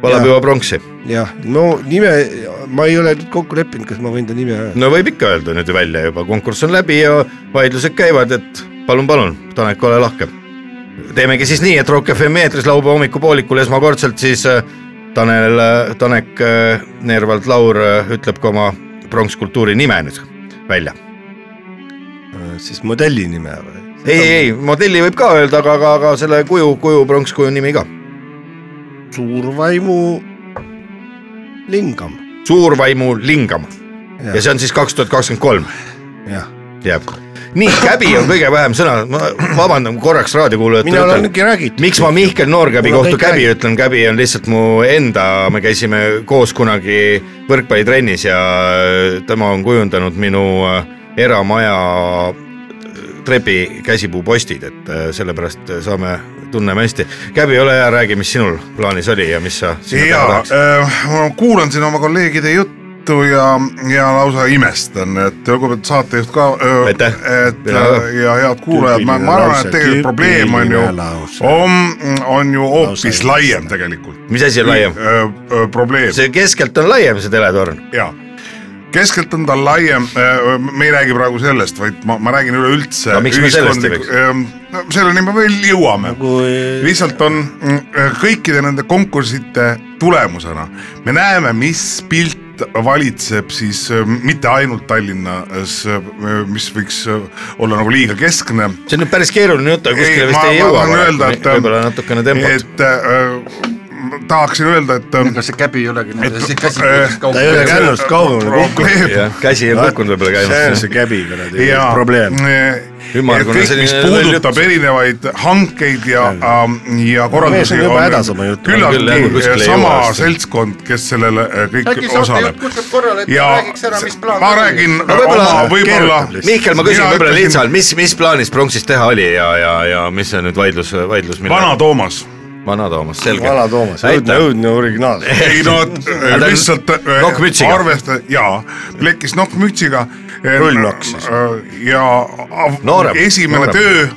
valab Jah. juba pronksi . jah , no nime , ma ei ole nüüd kokku leppinud , kas ma võin ta nime öelda . no võib ikka öelda nüüd välja juba , konkurss on läbi ja vaidlused käivad , et palun , palun , Tanek , ole lahke . teemegi siis nii , et Rock FM eetris laupäeva hommikupoolikul esmakordselt siis äh, Tanel , Tanek äh, Neervald Laur äh, ütleb ka oma pronkskultuuri nime nüüd välja . äh, siis modelli nime või ? ei , ei , modelli võib ka öelda , aga , aga , aga selle kuju , kuju , pronkskuju nimi ka . suurvaimu lingam . suurvaimu lingam ja, ja see on siis kaks tuhat kakskümmend kolm jah , jääb . nii , käbi on kõige vähem sõna , ma vabandan korraks mina raadiokuulajatele olen . ikka räägitud . miks ma Mihkel Noorkäbi Mul on kohta kõik käbi räägitud. ütlen , käbi on lihtsalt mu enda , me käisime koos kunagi võrkpallitrennis ja äh, tema on kujundanud minu äh, eramaja äh, trepi käsipuupostid , et äh, sellepärast saame , tunneme hästi . käbi , ole hea , räägi , mis sinul plaanis oli ja mis sa sinna teha ja tahaks . äh, ma kuulan siin oma kolleegide juttu ja , ja lausa imestan , et lugupeetud saatejuht ka äh, . Aitäh. et Ja- ja, ja head kuulajad , ma , ma Tüüpiline arvan , lause, et tegelikult probleem on ju tüüpiline lause. , on , on ju hoopis Lause. laiem tegelikult . mis asi on laiem ? probleem see keskelt on laiem , see teletorn . ja keskelt on tal laiem , me ei räägi praegu sellest , vaid ma , ma räägin üleüldse . No miks me sellest ei võiks? võiks ? selleni me veel jõuame Nagu Kui- lihtsalt on mm, kõikide nende konkursside tulemusena me näeme , mis pilt valitseb siis äh, mitte ainult Tallinnas , mis võiks äh, olla nagu liiga keskne see on nüüd päris keeruline jutt , aga kuskile vist ei jõua . võib-olla natukene tempot . äh, et äh, ma tahaksin öelda , et äh, ega see käbi ei olegi nende Et- käsi äh, ta ei ole kaugel . kännust kaugemale kukkunud . probleem jah , käsi ei kukkunud võib-olla see on käimas . see käbiga nad ei ja ole probleem . Ümmargune kõik , mis selline puudutab erinevaid hankeid ja , ja mees korraldusi on . juba hädas oma jutuga. Küll, jah, kuskil küllaltki ei sama jõua vast. seltskond , kes sellele äh, kõik äkki saatejuht osaleb . kutsub korrale , et ta ja räägiks ära , mis plaan ma räägin No võib-olla- oma võib-olla . Mihkel , ma küsin võib-olla lihtsalt , mis , mis plaanis pronksis teha oli ja , ja , ja mis see nüüd vaidlus , vaidlus , mille vana Toomas . vana Toomas , selge . vana Toomas , õudne , aitäh . õudne originaal . Eh. ei no et, äh, ta on lihtsalt nokkmütsiga. arvesta- jaa , plekkis nokkmütsiga . Rullnokk siis. Äh, ja av- Noorem, esimene noorem.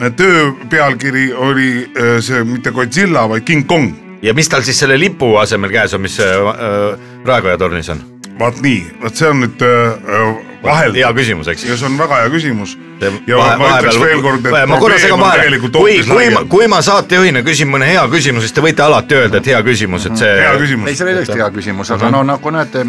töö , töö pealkiri oli äh, see mitte Godzilla , vaid King Kong ja mis tal siis selle lipu asemel käes on , mis äh, äh, Raekoja tornis on ? vaat nii , vot see on nüüd äh, Vahel- hea küsimus , eks . ja see on väga hea küsimus . ja ma, ma ütleks veel kord , et ma korra segan vahele , kui , kui ma , kui ma saatejuhina küsin mõne hea küsimuse , siis te võite alati öelda , et hea küsimus , et see . hea ei , küsimus see . oli tõesti hea küsimus , aga no nagu näete ,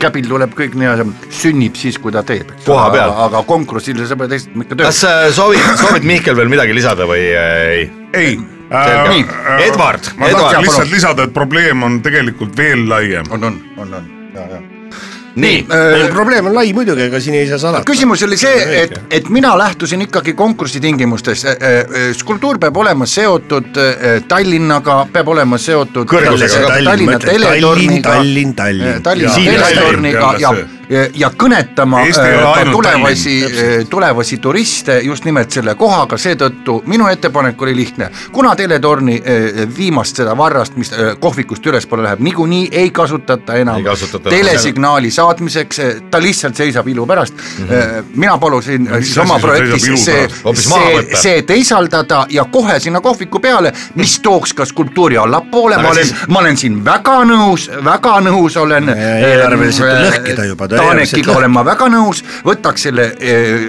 käbil tuleb kõik nii-öelda , sünnib siis , kui ta teeb . Koha peal. aga konkursil sa pead esitama ikka kas tööd . sa soovid , soovid Mihkel veel midagi lisada või äh, ei ? ei . Nii, Edward, ma Edward, tahtsin palun. lihtsalt lisada , et probleem on tegelikult veel laiem . on , on , on , on , ja , ja nii , probleem on lai muidugi , ega siin ei saa salata . küsimus oli see , et , et mina lähtusin ikkagi konkursi tingimustest . eh, skulptuur peab olema seotud eh, Tallinnaga , peab olema seotud Kõrgusega. Tallinn, Tallinna ma ütlen, Tallinn, teletorniga . Tallinn, Tallinn. Tallinna Siin Tallinn, teletorniga jälle ja see. , ja kõnetama eh, Eesti ei ole ka ainult tulevasi Tallinn, , täpselt. eh, tulevasi turiste just nimelt selle kohaga , seetõttu minu ettepanek oli lihtne . kuna teletorni eh, viimast seda varrast , mis eh, kohvikust ülespoole läheb , niikuinii ei kasutata enam Ei kasutata enam. telesignaali . signaali saatmiseks , ta lihtsalt seisab ilu pärast mm . -hmm. mina palusin Mhm. mis siis asi oma see projektis seisab ilu see pärast? , Hoopis maha võtta. see , see teisaldada ja kohe sinna kohviku peale , mis tooks ka skulptuuri allapoole , ma olen , ma olen siin väga nõus , väga nõus olen . eelarveliselt on lõhkida juba, ta eelarveliselt Taanekiga lõhkib. olen ma väga nõus , võtaks selle ,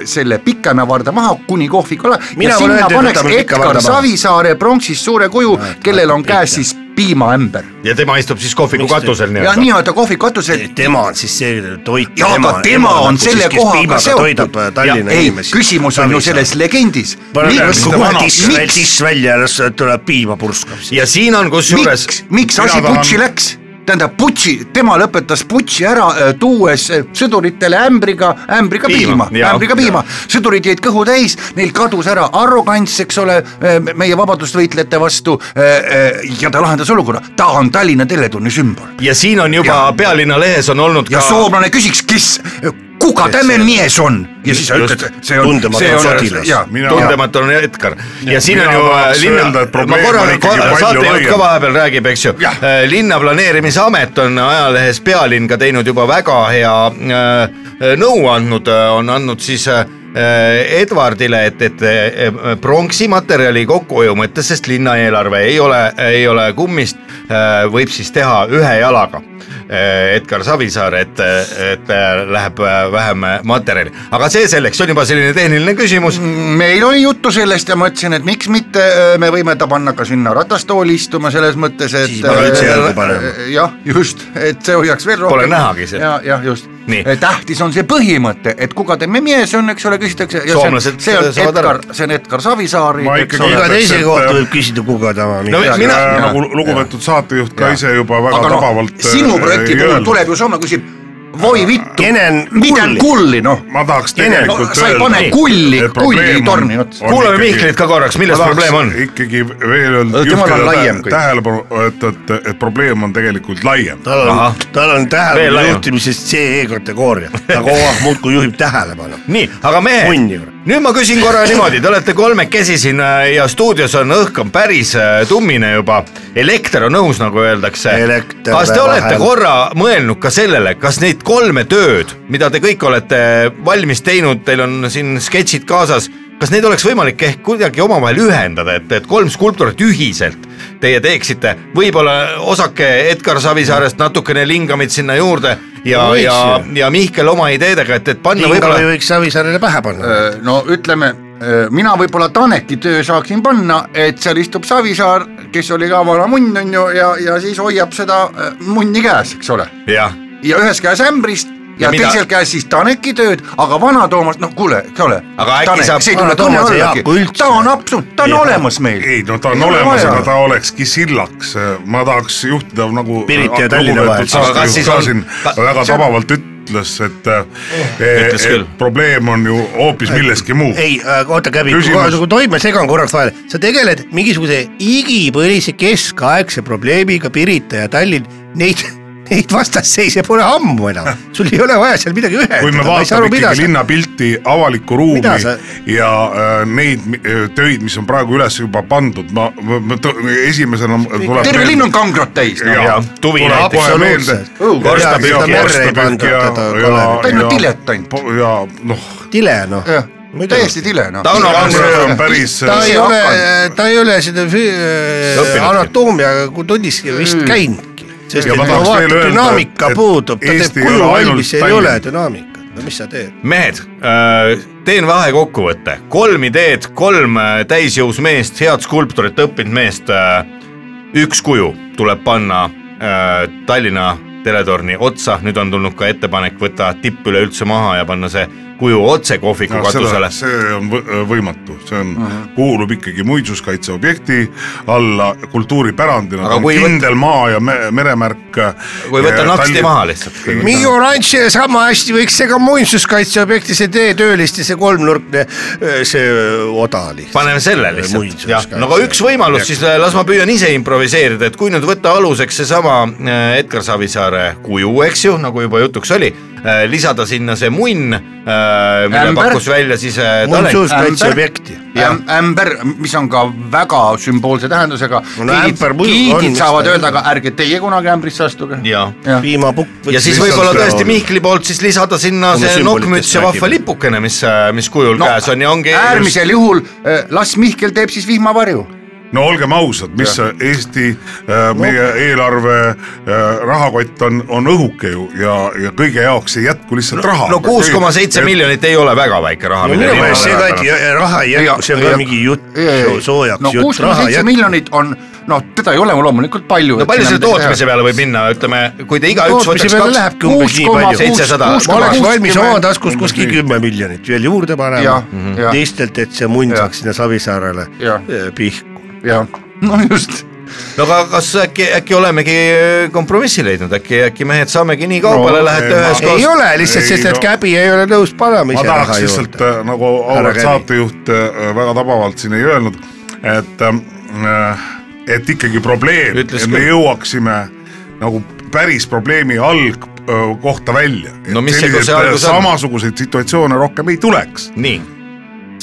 selle pikema varda maha kuni kohviku alla Mina ja pole sinna öelnud, et paneks võtame pika Edgar varda maha. Savisaare pronksist suure kuju , kellel on käes pika. siis piimaämber ja tema istub siis kohviku Miks te- katusel ja nii-öelda . nii-öelda kohviku katusel Eh, tema on siis see toit . nagu Jaa, aga tema on selle kohaga seotud. toidab äh, Tallinna ei , inimesi . küsimus on ju selles . legendis . miks , miks ? miks , tiss välja ja las tuleb piima purskab . ja siin on kusjuures miks , miks asi Mina tahan- putši läks ? tähendab Butši , tema lõpetas Butši ära , tuues äh, sõduritele ämbriga , ämbriga Piima, piima, jaa, ämbriga piima , sõdurid jäid kõhu täis , neil kadus ära arrogants , eks ole , meie vabadusvõitlejate vastu äh, äh, ja ta lahendas olukorra , ta on Tallinna teletunni sümbol . ja siin on juba Ja- pealinna lehes on olnud ja ka soomlane küsiks , kes , kuka tämä mies on ja siis sa Just, ütled , see on , tundematu see sotilas. jaa, Mina- tundematu on Edgar ja siin on mina ju äh, tahaks linna öelda, et , ma probleem korra on , ikkagi palju saatejuht ka laiem. vahepeal räägib , eks ju Jah. , linna planeerimisamet on ajalehes Pealinn ka teinud juba väga hea äh, nõu andnud , on andnud siis äh, Edwardile , et , et äh, pronksi materjali kokkuhoiu mõttes , sest linna eelarve ei ole , ei ole kummist , võib siis teha ühe jalaga . Edgar Savisaar , et , et äh, läheb äh, vähem materjali , aga see selleks , see on juba selline tehniline küsimus . Mm. meil oli juttu sellest ja ma ütlesin , et miks mitte , me võime ta panna ka sinna ratastooli istuma selles mõttes , et . Siis pole üldse jalgu parem. jah , just , et see hoiaks veel rohkem . Pole nähagi seda. ja , jah , just Äh, Nii. . tähtis on see põhimõte , et kuka teeme mees on , eks ole , küsitakse . Soomlased see on saavad Edgar aru. , see on Edgar Savisaari . Ma ikkagi iga ütleks, teise et- kohta võib küsida , kuga tema no on . mina , nagu lu- lugupeetud saatejuht ka ise juba väga aga noh tabavalt , sinu äh, projekti ei puhul öelnud. tuleb ju soomlane küsib , voi vittu , Kenen mida kulli? kulli noh . ma tahaks no tegelikult sa ei pane kulli , kulli ei torni otsa . kuulame Mihklit ka korraks , milles probleem on ? ikkagi veel öelda , Temal on laiem kõik. tähelepanu , et , et , et probleem on tegelikult laiem . tal Ahah. on , tal on Veel tähelepanu laiema. juhtimises CE kategooria , ta kogu aeg muudkui juhib tähelepanu . nii , aga mehed Munni , kurat. nüüd ma küsin korra niimoodi , te olete kolmekesi siin äh, ja stuudios on õhk on päris äh, tummine juba , elekter on õhus , nagu öeldakse . Elekter kas te vahel. olete korra mõelnud ka sellele , kas neid kolme tööd , mida te kõik olete valmis teinud , teil on siin sketšid kaasas , kas neid oleks võimalik ehk kuidagi omavahel ühendada , et , et kolm skulptorit ühiselt teie teeksite , võib-olla osake Edgar Savisaarest natukene lingamit sinna juurde ja , Võiks ja ju. , ja Mihkel oma ideedega , et , et panna võib-olla Ingoli võiks Savisaarele pähe Äh. panna . Äh, no ütleme , mina võib-olla Taneti töö saaksin panna , et seal istub Savisaar , kes oli ka vana munn , on ju , ja , ja siis hoiab seda äh, munni käes , eks ole . jah , ja ühes käes ämbrist ja, Ja ja mida- teisel käes siis Taneki tööd , aga vana Toomas , noh kuule , eks ole . Aga äkki saab- see ei tule Vana tunne Toomas ei allagi haaku üldse. , ta on absoluut , ta on Ei olemas meil . ei no ta on Ei ole olemas , vaja. aga ta olekski sillaks , ma tahaks juhtida nagu . Pirita ja Tallinna vahel. Aga kas siis ka on- siin ka- väga see on- tabavalt ütles , et, eh, Ütles et küll. probleem on ju hoopis milleski muu . ei , oota Käbi , Küsimus. kui tohib , ma segan korraks vahele , sa tegeled mingisuguse igipõlise keskaegse probleemiga Pirita ja Tallinn , neid , neid vastasseise pole ammu enam , sul ei ole vaja seal midagi ühendada . kui me vaatame ikkagi linnapilti , avalikku ruumi Mida sa- ja äh, neid mi- öö, töid , mis on praegu üles juba pandud , ma, ma , ma tõ- esimesena mul tuleb . terve linn on kangrot täis noh. no. . jaa , tuvi näiteks. Absoluutselt. Korstapühk ja merre ei pandud teda kolerit. Ta on ju diletant. . ja noh , tile noh . jah , täiesti tile noh . Tauno Kangrot- see on päris . äh, ta ei see ole hakanud. , ta ei ole seda füü- Õppinudki. anatoomiaga kui tunnis vist käinudki , Mm. sest Ja et ma ma tahaks vaatan veel , öelda, dünaamika et- et puudub , ta Eesti teeb ei ole kuju ainult valmis , ei Tallinn. ole dünaamikat . no mis sa teed ? mehed , teen vahekokkuvõtte , kolm ideed , kolm äh, täisjõus meest , head skulptorit õppinud meest . üks kuju tuleb panna äh, Tallinna teletorni otsa , nüüd on tulnud ka ettepanek võtta tipp üleüldse maha ja panna see kuju otse kohviku no, katusele . see on võ- äh, võimatu , see on uh , -huh. kuulub ikkagi muinsuskaitseobjekti alla kultuuripärandina , Aga ta on kui võt- kindel maa ja me, meremärk . äh, kui võtta naksti maha lihtsalt . Miu Ranch ja sama hästi võiks see ka muinsuskaitseobjekti , see teetööliste , see kolmnurkne , see oda lihtsalt . paneme selle lihtsalt , jah , no aga üks võimalus siis , las ma püüan ise improviseerida , et kui nüüd võtta aluseks seesama äh, Edgar Savisaare kuju , eks ju , nagu juba jutuks oli , lisada sinna see munn , mille Ämber. pakkus välja siis äh, Tanel , muinsuskaitseobjekti . Jah. ämber , mis on ka väga sümboolse tähendusega No no ämber mõju on giidid vist- saavad öelda , aga ärge teie kunagi ämbrisse astuge . ja , jah , piimapukk . ja siis võib-olla tõesti . Mihkli poolt siis lisada sinna Kui me see sümbolitest nokkmüts ja räägime. vahva lipukene , mis , mis kujul No, käes on ja ongi äärmisel juhul eh, las Mihkel teeb siis vihmavarju . no olgem ausad , mis see Eesti äh, , meie eelarve äh, rahakott on , on õhuke ju ja , ja kõige jaoks ei jätku lihtsalt raha . no kuus koma seitse . miljonit ei ole väga väike raha . minu meelest see ka ikka ja- raha ei jätku , see on ka mingi jutt , soojaks no kuus jutt , koma raha ei seitse jätku . miljonit on , noh , teda ei ole loomulikult palju . no palju selle tootmise peale võib minna , ütleme , kui te igaüks tootmise võtaks peale kaks lähebki umbes nii palju . 700. ma oleks valmis oma taskust kuskil kümme miljonit veel juurde panema Jah, Mhm. jah. teistelt , et see mund Jah. saaks sinna Savisaarele Jah. eh, pihku . jah , no just , no aga kas äkki , äkki olemegi äh, kompromissi leidnud , äkki , äkki mehed saamegi nii kaugele no, , lähete ei, üheskoos ei no, . ole lihtsalt , Ei, sest et no- Käbi ei ole nõus panema ma ise raha tahaks lihtsalt juurde . äh, nagu Härra auväärt Kävi. saatejuht äh, väga tabavalt siin ei öelnud , et äh, , et ikkagi probleem , Ütles et me küll. jõuaksime nagu päris probleemi alg äh, kohta välja . No mis see- kus see algus on? samasuguseid situatsioone rohkem ei tuleks . nii ,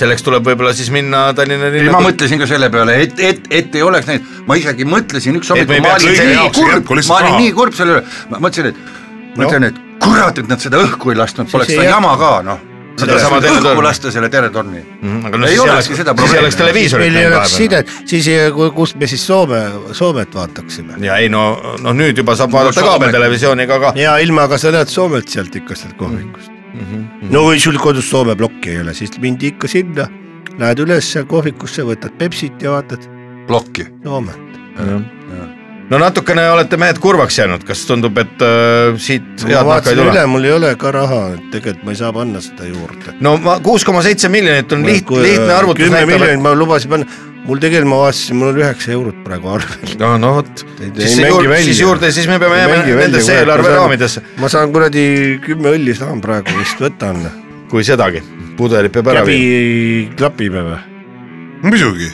selleks tuleb võib-olla siis minna Tallinna ei linna ma . mõtlesin ka selle peale , et , et , et ei oleks neid , ma isegi mõtlesin üks me hommik , ei ma peaks olin kõige nii jaoks kurb jätku , lihtsalt ma olin raha. nii kurb selle üle , ma mõtlesin , et mõtlen , et kurat , et nad seda õhku ei lasknud , poleks Noh. ei seda jätku. jama ka noh . Seda sama teletorni. õhku lasta selle teletorni . aga no Ei siis ei olekski seda oleks , siis ei probleemi. oleks televiisorit meil ei meil oleks vahepeal . sidet , siis ei- ku- kust me siis Soome , Soomet vaataksime ? ja ei no , no nüüd juba saab vaadata saame. kaabeltelevisiooni ka , aga ja ilma , aga sa näed Soomelt sealt ikka sealt kohvikust mm . -hmm. no kui sul kodus Soome plokki ei ole , siis mindi ikka sinna , lähed üles seal kohvikusse , võtad Pepsit ja vaatad plokki . Soome . no natukene olete mehed kurvaks jäänud , kas tundub , et äh, siit ma head nahka ei vaatasin üle tule ?, mul ei ole ka raha , tegelikult ma ei saa panna seda juurde . no ma kuus koma seitse miljonit on liht- , lihtne arvutus kümme näitab , et miljonit ma lubasin panna , mul tegelikult ma vaatasin , mul on üheksa eurot praegu arvel . no , no vot , ei siis, see mängi juurde- välja. siis juurde , siis me peame jääma nendesse eelarveraamidesse , ma saan kuradi kümme õlli saan praegu vist , võtan . kui sedagi , pudelid peab ära läbi viima . klapime või ? muidugi ,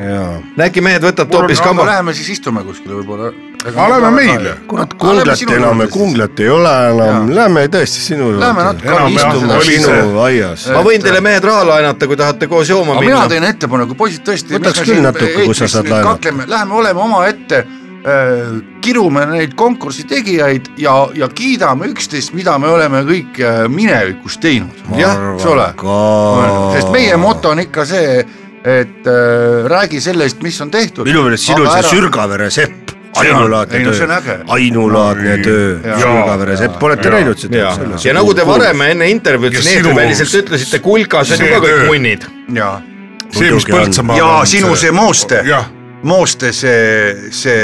jaa . no äkki mehed võtate hoopis kamba , Läheme siis istume kuskile võib-olla . oleme meile . kurat , kunglat enam , kunglat ei ole enam , lähme tõesti sinu Lähme natuke Enam alla jah, istume istume oli sinu see. aias . ma võin teile mehed raha laenata , kui tahate koos jooma aga mina minna . teen ettepaneku , poisid tõesti . Võtaks küll natuke, kui sa saad laenata. kakleme , läheme oleme omaette , kirume neid konkursi tegijaid ja , ja kiidame üksteist , mida me oleme kõik äh, minevikus teinud , jah , eks ole . sest meie moto on ikka see , et äh, räägi sellest , mis on tehtud . minu meelest sinul see . Sürgavere sepp , ainulaadne ei no see on äge töö , ainulaadne töö , Sürgavere sepp , olete näinud ja seda ?, ja nagu te varem enne intervjuud Ja siin sinu- eetriväliselt ütlesite , kulkas on ju see ka kõik töö. munnid . ja , see , mis Muidugi on. Põltsamaa . ja sinu see mooste , jah , mooste see , see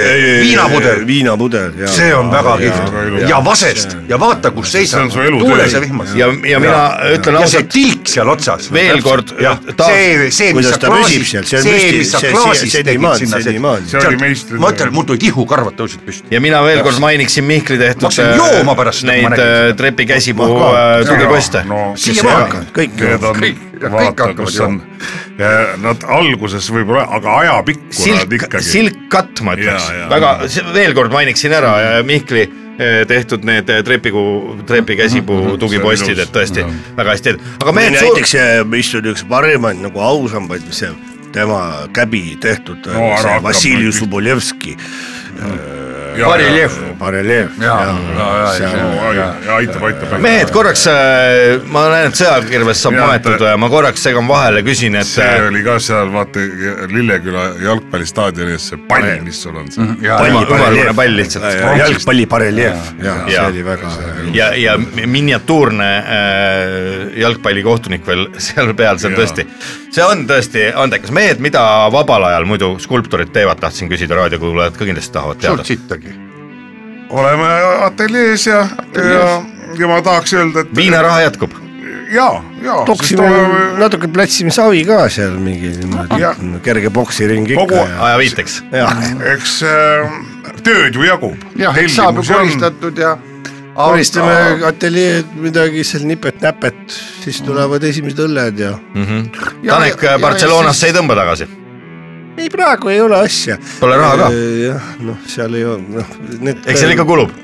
viinapudel , Eh, viinapudel , jaa . see on väga väga kihvt ilus. ja vasest ja vaata , kus see seisab on su elutöö. tuules ja vihmas ja , ja mina ütlen ja see ausalt , tilk seal otsas . Veel kord, jah , taas- see , see , mis kuidas sa ta püsib seal , klaasis , see on see , müstiline , mis sa see , klaasis see , tegid senimaani , sinna , senimaani . see oli meistri . ma ütlen , mul tulid ihukarvad tõusid püsti . ja mina veel kord mainiksin Mihkli Ma tehtud äh, hakkasin jooma pärast seda, kui ma neid nägin äh, trepikäsipuu Ma ka. äh, tugiposte . no siiamaani . kõik Need on , vaata , kus on , nad alguses võib-olla , aga ajapikku nad silk , ikkagi . silkkatt ma ütleks Jaa, jaa. , väga , veel kord mainiksin ära ja Mihkli eh, tehtud need eh, trepikuu , trepikäsipuu tugipostid , et tõesti väga hästi , aga mehed suur , näiteks , mis on üks parimaid nagu ausambaid , mis see tema käbi tehtud No ära no, hakka, Vassili ma- Suboljevski no. bareljeef . Äh, bareljeef . aitab , aitab . mehed , korraks , ma näen , et sõjakirves saab Jah, maetud , ta- ma korraks segan vahele , küsin , et äh, see oli ka seal , vaata Lilleküla jalgpallistaadionis see pall , mis sul Mhm. on seal . palli , palli , pall lihtsalt jalgpalli bareljeef , jah , see Jaa. oli väga . ja , ja miniatuurne äh, jalgpallikohtunik veel seal peal , see on Jaa. tõesti , see on tõesti andekas mehed , mida vabal ajal muidu skulptorid teevad , tahtsin küsida , raadiokuulajad ka kindlasti tahavad sult teada . sittagi . oleme ateljees ja , ja , ja ma tahaks öelda , et viinaraha jätkub , ja , ja . toksime , natuke platsime savi ka seal mingi niimoodi Mm, Jah. kerge poksiring ikka Kogu Äh, ja , ajaviiteks . ja eks äh, tööd ju jagub . jah , saab ju koristatud ja . koristame . ateljeed midagi seal nipet-näpet , siis tulevad esimesed õlled ja Tanek Barcelonasse ei tõmba tagasi , ei , praegu ei ole asja . Pole raha ka. . jah , noh , seal ei ole , noh , need . eks seal ikka kulub .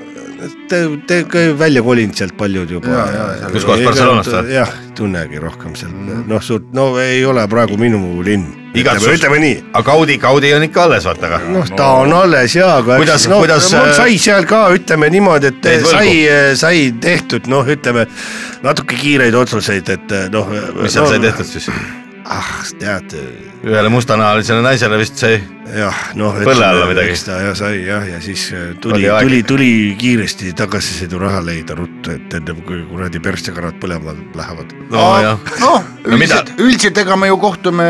Te , te ka välja kolinud sealt paljud juba . Kus kohas, Barcelonast või? jah , tunnegi rohkem seal , noh , suurt , no ei ole praegu minu linn . Igatsus. ütleme , ütleme nii , aga Gaudi , Gaudi on ikka alles , vaata aga noh , ta on alles ja , aga Kuidas- eks, no, kuidas, no, äh, sai seal ka , ütleme niimoodi , Jäid et võlgu? sai , sai tehtud , noh , ütleme natuke kiireid otsuseid , et noh . mis seal sai tehtud ? siis ? ah , tead ühele mustanahalisele naisele vist sai , jah , noh . Põlle alla midagi. eks ta ja sai jah , ja siis äh, tuli Oli , aeg. tuli , tuli kiiresti tagasisõiduraha leida ruttu , et ennem kui kuradi perstekarad põlema lähevad . nojah , noh , No mida- üldiselt , üldiselt ega me ju kohtume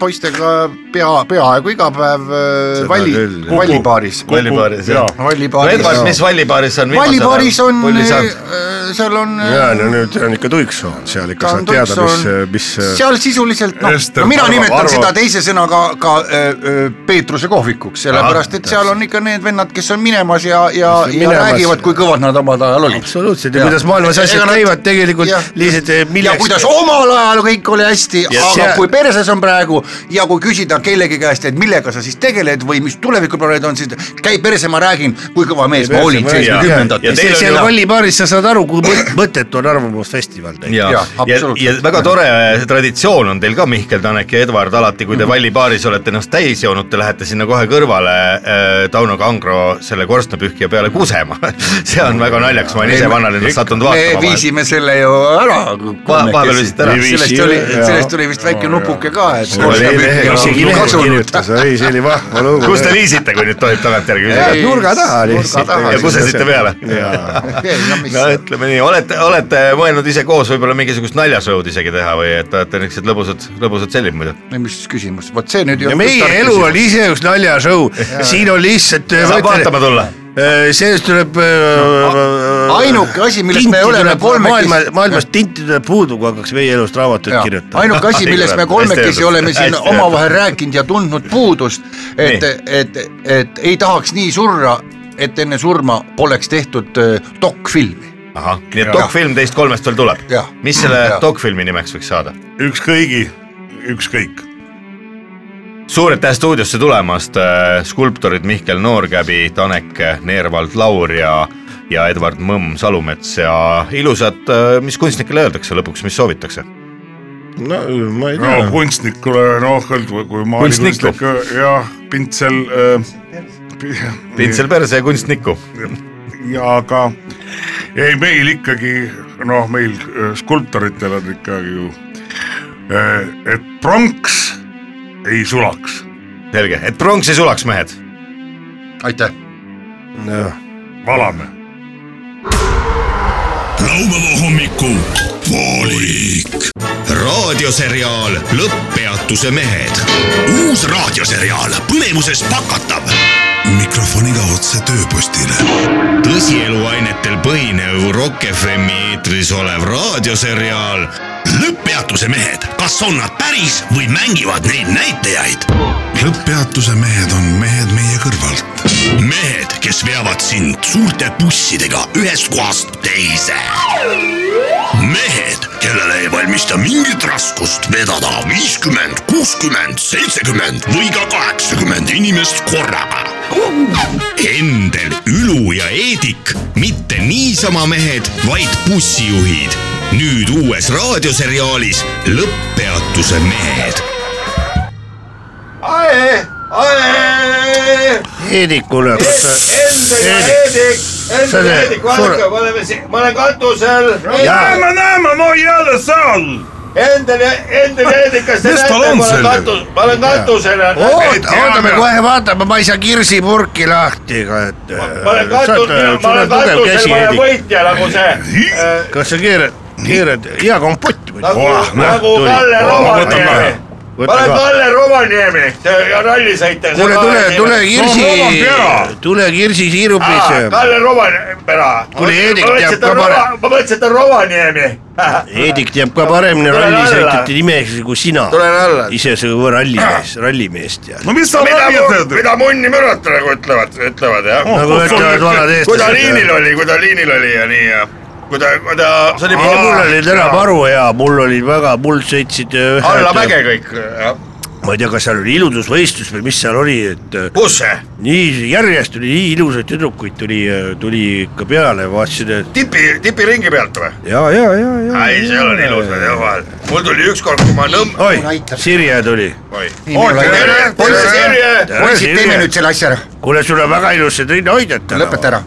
poistega pea , peaaegu iga päev äh, Seda valli küll, , jah. vallipaaris . vallipaaris jaa. jah . Edvard , mis vallipaaris . vallipaaris on vallipaaris on äh, pulli , saanud ? seal on , ja no nüüd on ikka tuiksoon seal ikka Ta saad on teada , mis äh, tuiksoon. , mis . seal sisuliselt noh , Ester no mina arvab- nimetan arvab- seda teise sõnaga ka öö, öö, Peetruse kohvikuks , sellepärast et seal on ikka need vennad , kes on minemas ja , ja , Kes Ah, on ja minemas. räägivad , kui kõvad nad omal ajal olid . absoluutselt ja kuidas maailmas asjad käivad tegelikult jah. lihtsalt eh, ja kuidas omal ajal kõik oli hästi , Ja aga see- kui perses on praegu ja kui küsida kellegi käest , et millega sa siis tegeled või mis tulevikuplaanid on , siis käi perse , ma räägin , kui kõva mees ma olin Ja ja teil teil on seal ju- vallipaaris sa saad aru , kui mõ- mõttetu on arvamusfestival tegelikult . ja , ja Jah, , ja, absoluutselt. ja väga tore eh, traditsioon on teil ka , Mihkel , Tanek ja Edvard , alati Mhm. kui te vallipaaris olete ennast täis joonud , te lähete sinna kohe kõrvale äh, Tauno Kangro selle korstnapühkija peale kusema . see on väga naljakas , ma olen ise vanalinnas sattunud me vaatama . viisime selle ju ära . vahepeal viisite ära. sellest Viisi- oli , jaa. sellest tuli vist väike nupuke ka , et . oli lehe , isegi lehes kirjutas , ei see oli vahva lugu . kus te viisite , kui nüüd tohib tagantjärgi Ei, küsida ? nurga taha nurga taha ja kusesite peale ? no ütleme nii , olete , olete mõelnud ise koos võib-olla mingisugust naljasõud isegi teha või et olete niisugused lõbusad , lõbusad sellid muidu ? mis küsimus , vot see nüüd . ja meie elu on ise üks naljashow , siin on lihtsalt . äh, saab vaatama tulla . sellest tuleb . äh, ainuke asi, millest me oleme kolmekesi- maailma , maailmas tinti tuleb puudu , kui hakkaks meie elust raamatuid Jaa. kirjutama . ainuke asi , millest me Hästi öeldud, kolmekesi oleme siin hästi öeldud. omavahel rääkinud ja tundnud puudust , et , et , et ei tahaks nii surra , et enne surma poleks tehtud äh, dokfilmi . ahah , nii et dokfilm teist kolmest veel tuleb Jah. . mis selle Jah. dokfilmi nimeks võiks saada ? ükskõigi , ükskõik . suur aitäh stuudiosse tulemast , skulptorid Mihkel Noorkäbi , Tanek Neervald Laur ja , ja Edward Mõmm Salumets ja ilusat , mis kunstnikele öeldakse lõpuks , mis soovitakse ? no ma ei no tea . kunstnikule , noh , kui Kunstnikku. maalikunstnik äh, jah , pintsel äh, . pintsel perse ja kunstnikku . ja aga ei , meil ikkagi noh , meil äh, skulptoritel on ikkagi ju , et pronks ei sulaks . selge , et pronks ei sulaks , mehed . aitäh . valame . laupäeva hommiku poolik . raadioseriaal Lõpppeatuse mehed . uus raadioseriaal põnevuses pakatav . mikrofoniga otse tööpostile . tõsieluainetel põhinev Rock FM-i eetris olev raadioseriaal lõpppeatuse mehed , kas on nad päris või mängivad neid näitajaid ? lõpppeatuse mehed on mehed meie kõrvalt . mehed , kes veavad sind suurte bussidega ühest kohast teise . mehed , kellele ei valmista mingit raskust vedada viiskümmend , kuuskümmend , seitsekümmend või ka kaheksakümmend inimest korraga . Endel , Ülu ja Eedik , mitte niisama mehed , vaid bussijuhid . nüüd uues raadioseriaalis Lõpppeatuse mehed . Heedikule , kas sa , Endel ja Heedik , Endel ja Heedik , vaadake , me oleme siin , ma olen katusel . näeme , näeme , ma ei ole seal . Endel ja , Endel ja Heedik , kas te Mis tal näete , on ma olen sellel? katus , ma olen katusel . oota , oota , me kohe vaatame , ma ei saa kirsipurki lahti ka , et . äh, ma olen katus , ma olen katusel , ma olen võitja nagu see äh, , kas sa keerad , keerad hea kompott või ? nagu , nagu Kalle Rovaniemi . ma olen Kalle Rovaniemi , rallisõitja . tule , tule , tule kirsi pera. , tule kirsi siirupis . Ah, Kalle Rovaniemi . Kuule, Heedik teab ka pare- ma mõtlesin , et on Rovaniemi . Heidik teab ka paremini Tule rallisõitjate alla. nimesid kui sina . tulen alla . ise sa juba rallimees , rallimees tead . no mis sa mida räägid , mu- , mida munni mürata nagu ütlevad , ütlevad jah . nagu ütlevad vanad kui ta liinil eestlased . oli , kui ta liinil oli ja nii ja kui ta , kui ta . see oli mul oli täna maru hea , mul oli väga , äh, mul sõitsid ühed- alla mäge kõik , jah . ma ei tea , kas seal oli iludusvõistlus või mis seal oli , et äh, busse , nii järjest tuli nii ilusaid tüdrukuid tuli , tuli ikka peale , vaatasin , et tipi , tipiringi pealt või ? ja , ja , ja , ja . ei , seal on ilusad jah vahel . mul tuli ükskord , kui ma Nõmm- , oi Mul aitab. , Sirje tuli . oi . poisid , tere , tere , Sirje . teeme nüüd selle asja ära , kuule , sul on väga ilusad rinnahoidjad täna . lõpeta ära .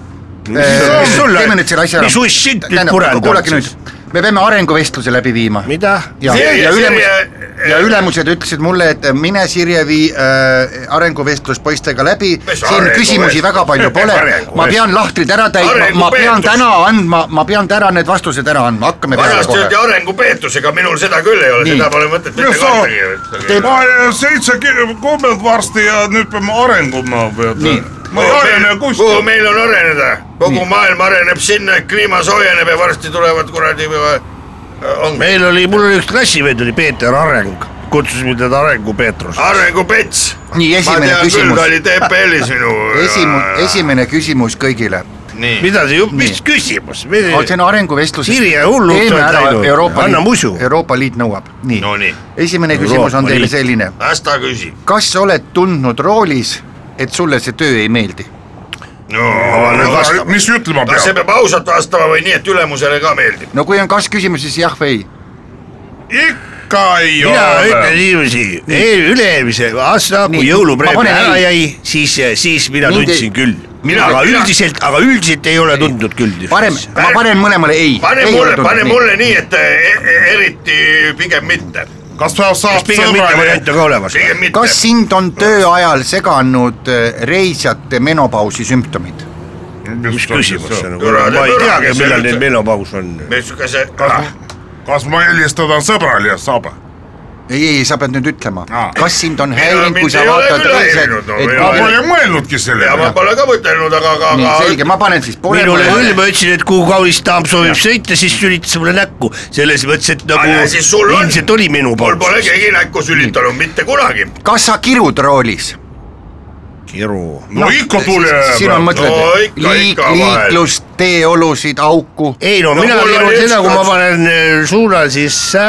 mis sul teeme on nüüd , selle asja mis ära . ussint nüüd purendab kuulake nüüd , me peame arenguvestluse läbi viima . mida ? ja , ja Sirje , ülemus , Sirje . ja ülemused ütlesid mulle , et mine Sirje vii äh, arenguvestlus poistega läbi , Mis siin küsimusi arenguvestlus? väga palju pole , ma pean lahtrid ära täitma , ma pean Arengupeetus. täna andma , ma pean täna need vastused ära andma , hakkame peale vanasti öeldi kohe . arengupeetusega , minul seda küll ei ole , Nii. seda pole mõtet mitte Mis sa- kahtagi . ma seitse kuupäevad varsti ja nüüd peame arenguma . Nii. ma ei arene kuhu kuskil . meil on areneda , kogu maailm areneb sinna , et kliima soojeneb ja varsti tulevad kuradi äh, on meil oli , mul oli üks klassivend oli Peeter Areng , kutsusime teda Arengu Peetrus . arengupets . nii , esimene küll , ta küsimus , oli TPL-is minu . esimu- , esimene küsimus kõigile . nii , mida see , mis küsimus ? see on arenguvestlus . Sirje hulluks teeme on ära läinud. Euroopa Anname Liit usu. , Euroopa Liit nõuab , nii . no nii , esimene Euroopa küsimus on teile Liit. selline , las ta küsib . kas sa oled tundnud roolis , et sulle see töö ei meeldi ? mis ütlema kas see peab ? peab ausalt vastama või nii , et ülemusele ka meeldib ? no kui on kas-küsimus , siis jah või ei . ikka ei mina ütlen ole . niiviisi , üle-eelmise aasta , kui Nii, ma jõulupreemia panen ära ei. jäi , siis , siis mina Mind ei- tundsin küll . Mina- aga mina- üldiselt , aga üldiselt ei ole tundnud küll . parem , ma panen mõlemale ei . pane mulle , pane mulle nii , et eh, eh, eriti pigem mitte , kas sa kas saad pigem mitte variant sõbrani ? on ka olemas ? Ah, pigem mitte . kas sind on töö ajal seganud äh, reisjate menopausi sümptomid ? mis küsimus see on ? Tore, ma ei tore, teagi , kes üldse- millal neil menopaus on . missuguse , Ah, kas ma helistada sõbrale ja saab ? ei , ei , sa pead nüüd ütlema Aa. , kas sind on Mina- häirinud , kui mind sa ei ole vaatad küll reisijat häirinud, no, et ja Ei. ma pole kaugele , mõelnudki ja ma sellele . pole ka mõtelnud , aga , aga , nii aga selge , ma panen siis minule küll , paremale . ma ütlesin , et kuhu kaunis daam soovib sõita , siis sülitas mulle näkku . selles mõttes , et nagu Aga siis sul on- ilmselt oli mul pole menopaus . keegi näkku sülitanud mitte kunagi . kas sa kirud roolis ? kiru . no ikka tule . siin on No mõtted , ikka, liik- , ikka vahel. liiklust , teeolusid , auku . ei no, No no mina mul kirjutan oli seda , kui ma üks- panen eh, suuna sisse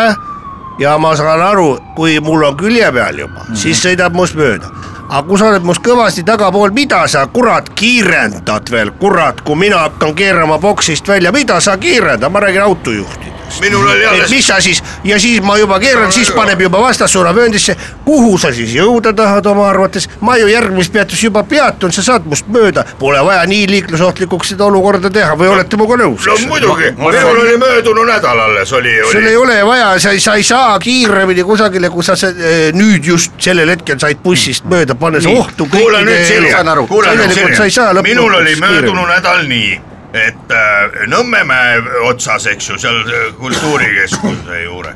ja ma saan aru , kui mul on külje peal juba Mhm. mm , -hmm. siis sõidab must mööda . aga kui sa oled must kõvasti tagapool , mida sa kurat kiirendad veel , kurat , kui mina hakkan keerama boksist välja , mida sa kiirendad , ma räägin autojuhtidest . minul oli et alles , mis sa siis ja siis ma juba keeran , siis paneb juba vastassuunavööndisse , kuhu sa siis jõuda tahad oma arvates , ma ju järgmises peatuses juba peatun , sa saad must mööda , pole vaja nii liiklusohtlikuks seda olukorda teha või olete minuga nõus ? no muidugi , minul oli möödunud nädal alles oli , sul ei oli . ole vaja , sa ei , sa ei saa kiiremini kusagile , kus sa se- eh, nüüd just sellel hetkel said bussist mööda pannes ohtu . kuule nüüd Sirje saan , aru. kuule nüüd Tegelikult sa ei saa Sirje , lõpuni minul oli kiiremini. möödunud nädal nii , et äh, Nõmmemäe otsas , eks ju , seal äh, kultuurikeskuse juure ,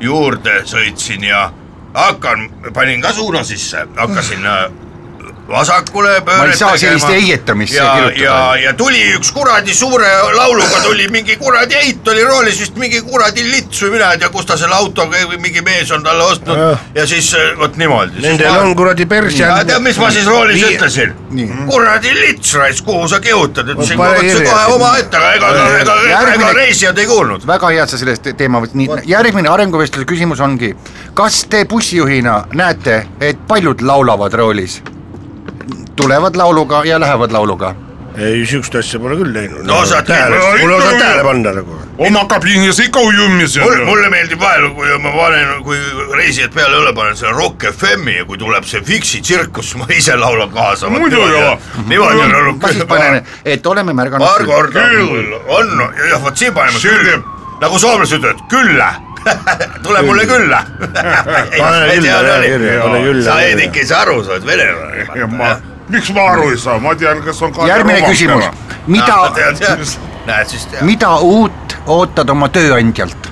juurde sõitsin ja hakkan , panin ka suuna sisse , hakkasin äh, vasakule pööret ma ei saa sellist heietamist siia ja , ja , kirjutada . ja tuli üks kuradi suure lauluga tuli mingi kuradi eit oli roolis vist mingi kuradi lits või mina ei tea , kust ta selle autoga või mingi mees on talle ostnud ja, Jah. siis äh, vot niimoodi . Nendel on kuradi persse ja tead , mis ma siis roolis Nii. . ütlesin Mm. Nii. ? kuradi lits raisk , kuhu sa kihutad , ütlesin , pane kurat see kirja. kohe omaette , ega , ega , ega, ega Järgmine- reisijad ei kuulnud . väga hea , et sa sellest te- teema võtsid , nii järgmine arenguvestluse küsimus ongi , kas te bussijuhina näete , et paljud laulavad roolis ? tulevad lauluga ja lähevad lauluga . ei , siukest asja pole küll teinud . No saad küll. tähele , No mul ikka osad ju. tähele panna nagu . oma kabiinis ikka ujumis . mulle , mulle meeldib vahel , kui ma panen , kui reisijad peale õlle panen selle Rock FM-i ja kui tuleb see Fiksi tsirkus , ma ise laulan kaasa . Muidugi, jah. niimoodi on olnud ma siis panen , et oleme märganud . paar korda Küll. on , jah , vot siin paneme küll Sünnib. , nagu soomlased ütlevad , külla . tule mulle külla . Pane külla, jah, kirja, pane külla, sa jah. Heidik ei saa aru , sa oled venelane . ja ma , miks ma aru ei saa , ma tean , kes on . järgmine küsimus , mida , tead , näed siis tead . mida uut ootad oma tööandjalt ?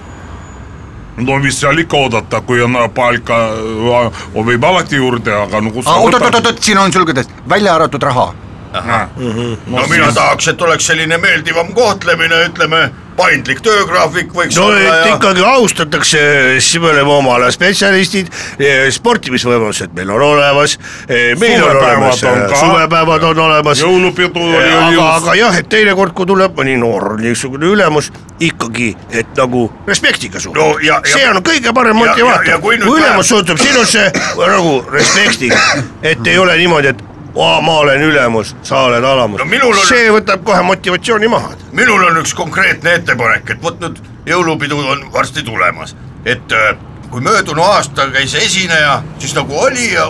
no mis seal ikka oodata , kui on palka , võib alati juurde , aga no kus . Ah, oot-oot-oot , siin on sulgedes , välja arvatud raha . no mina tahaks , et oleks selline meeldivam kohtlemine , ütleme paindlik töögraafik võiks no olla et ja- ikkagi austatakse , siis me oleme oma ala spetsialistid , sportimisvõimalused meil on olemas , meil on Suvepäevad olemas eh, on ka. , suvepäevad on olemas . Jõulupidu oli aga , just. aga jah , et teinekord , kui tuleb mõni noor niisugune ülemus , ikkagi , et nagu respektiga No suhtuda ja- ja- see on kõige parem ja- ja- motivaator , ja kui kui nüüd vähem- ülemus suhtub sinusse nagu respektiga , et ei ole niimoodi , et aa , ma olen ülemus , sa oled alamus No minul on- see võtab kohe motivatsiooni maha minul on üks konkreetne ettepanek , et vot nüüd jõulupidu on varsti tulemas , et äh, kui möödunu aasta käis esineja , siis nagu oli ja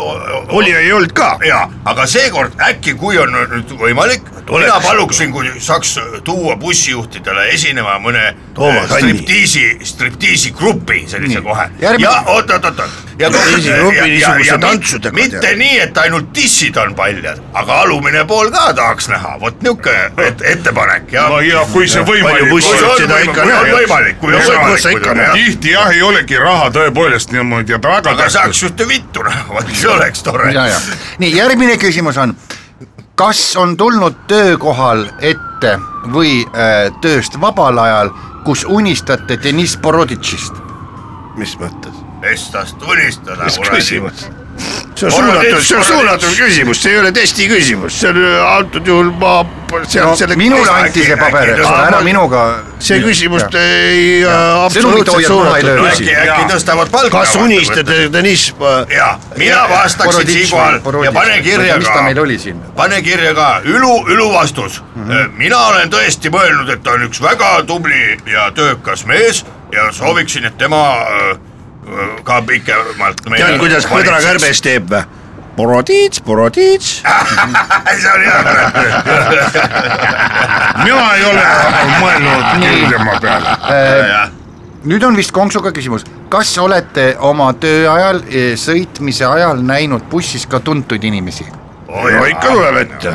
oli ja ei olnud ka . ja , aga seekord äkki , kui on nüüd võimalik , oleks. mina paluksin , kui saaks tuua bussijuhtidele esinema mõne Toomas äh, Anni. striptiisi , striptiisi grupi sellise kohe . järgmine- ja oot-oot-oot-oot . Striptiisi grupi niisuguse tantsudega, mitte tead. nii , et ainult dissid on paljad , aga alumine pool ka tahaks näha , vot niisugune et, ettepanek ja no ja kui see võimalik bussi- on . seda ikka kui on näed. võimalik , kui on Kus sa- võimalik . kus sa ikka näed? tihti jah , ei olegi raha tõepoolest niimoodi , et väga aga saaks ühte vittu näha , vot see oleks tore . nii , järgmine küsimus on , kas on tulnud töökohal ette või äh, tööst vabal ajal , kus unistate Deniss Boroditšist ? mis mõttes ? Estast unistada . mis küsimus ? see Arvan, on suunatud , et- see on suunatud küsimus , see ei ole testi küsimus , see on öö, antud juhul ma sealt no selle Noh, minule testi- anti see äkki- paber , äkki- ära ma- minuga . see küsimus ei äh, absoluutselt hoiad maha ei suunatud löö. no küsimus äkki , äkki tõstavad palka . kas unistad , Deniss , äh, ja mina vastaksin siinkohal ja pane kirja mis ta meil ka , oli siin ? pane kirja ka Ülu , Ülu vastus mm . -hmm. mina olen tõesti mõelnud , et ta on üks väga tubli ja töökas mees ja sooviksin , et tema äh, äh, ka pikemalt . tead , kuidas põdrakärbes teeb või ? Boroditš , Boroditš , see on hea . mina ei ole nagu mõelnud keldema peale . nüüd on vist konksuga küsimus , kas olete oma töö ajal , sõitmise ajal näinud bussis ka tuntud inimesi ? no ikka tuleb ette .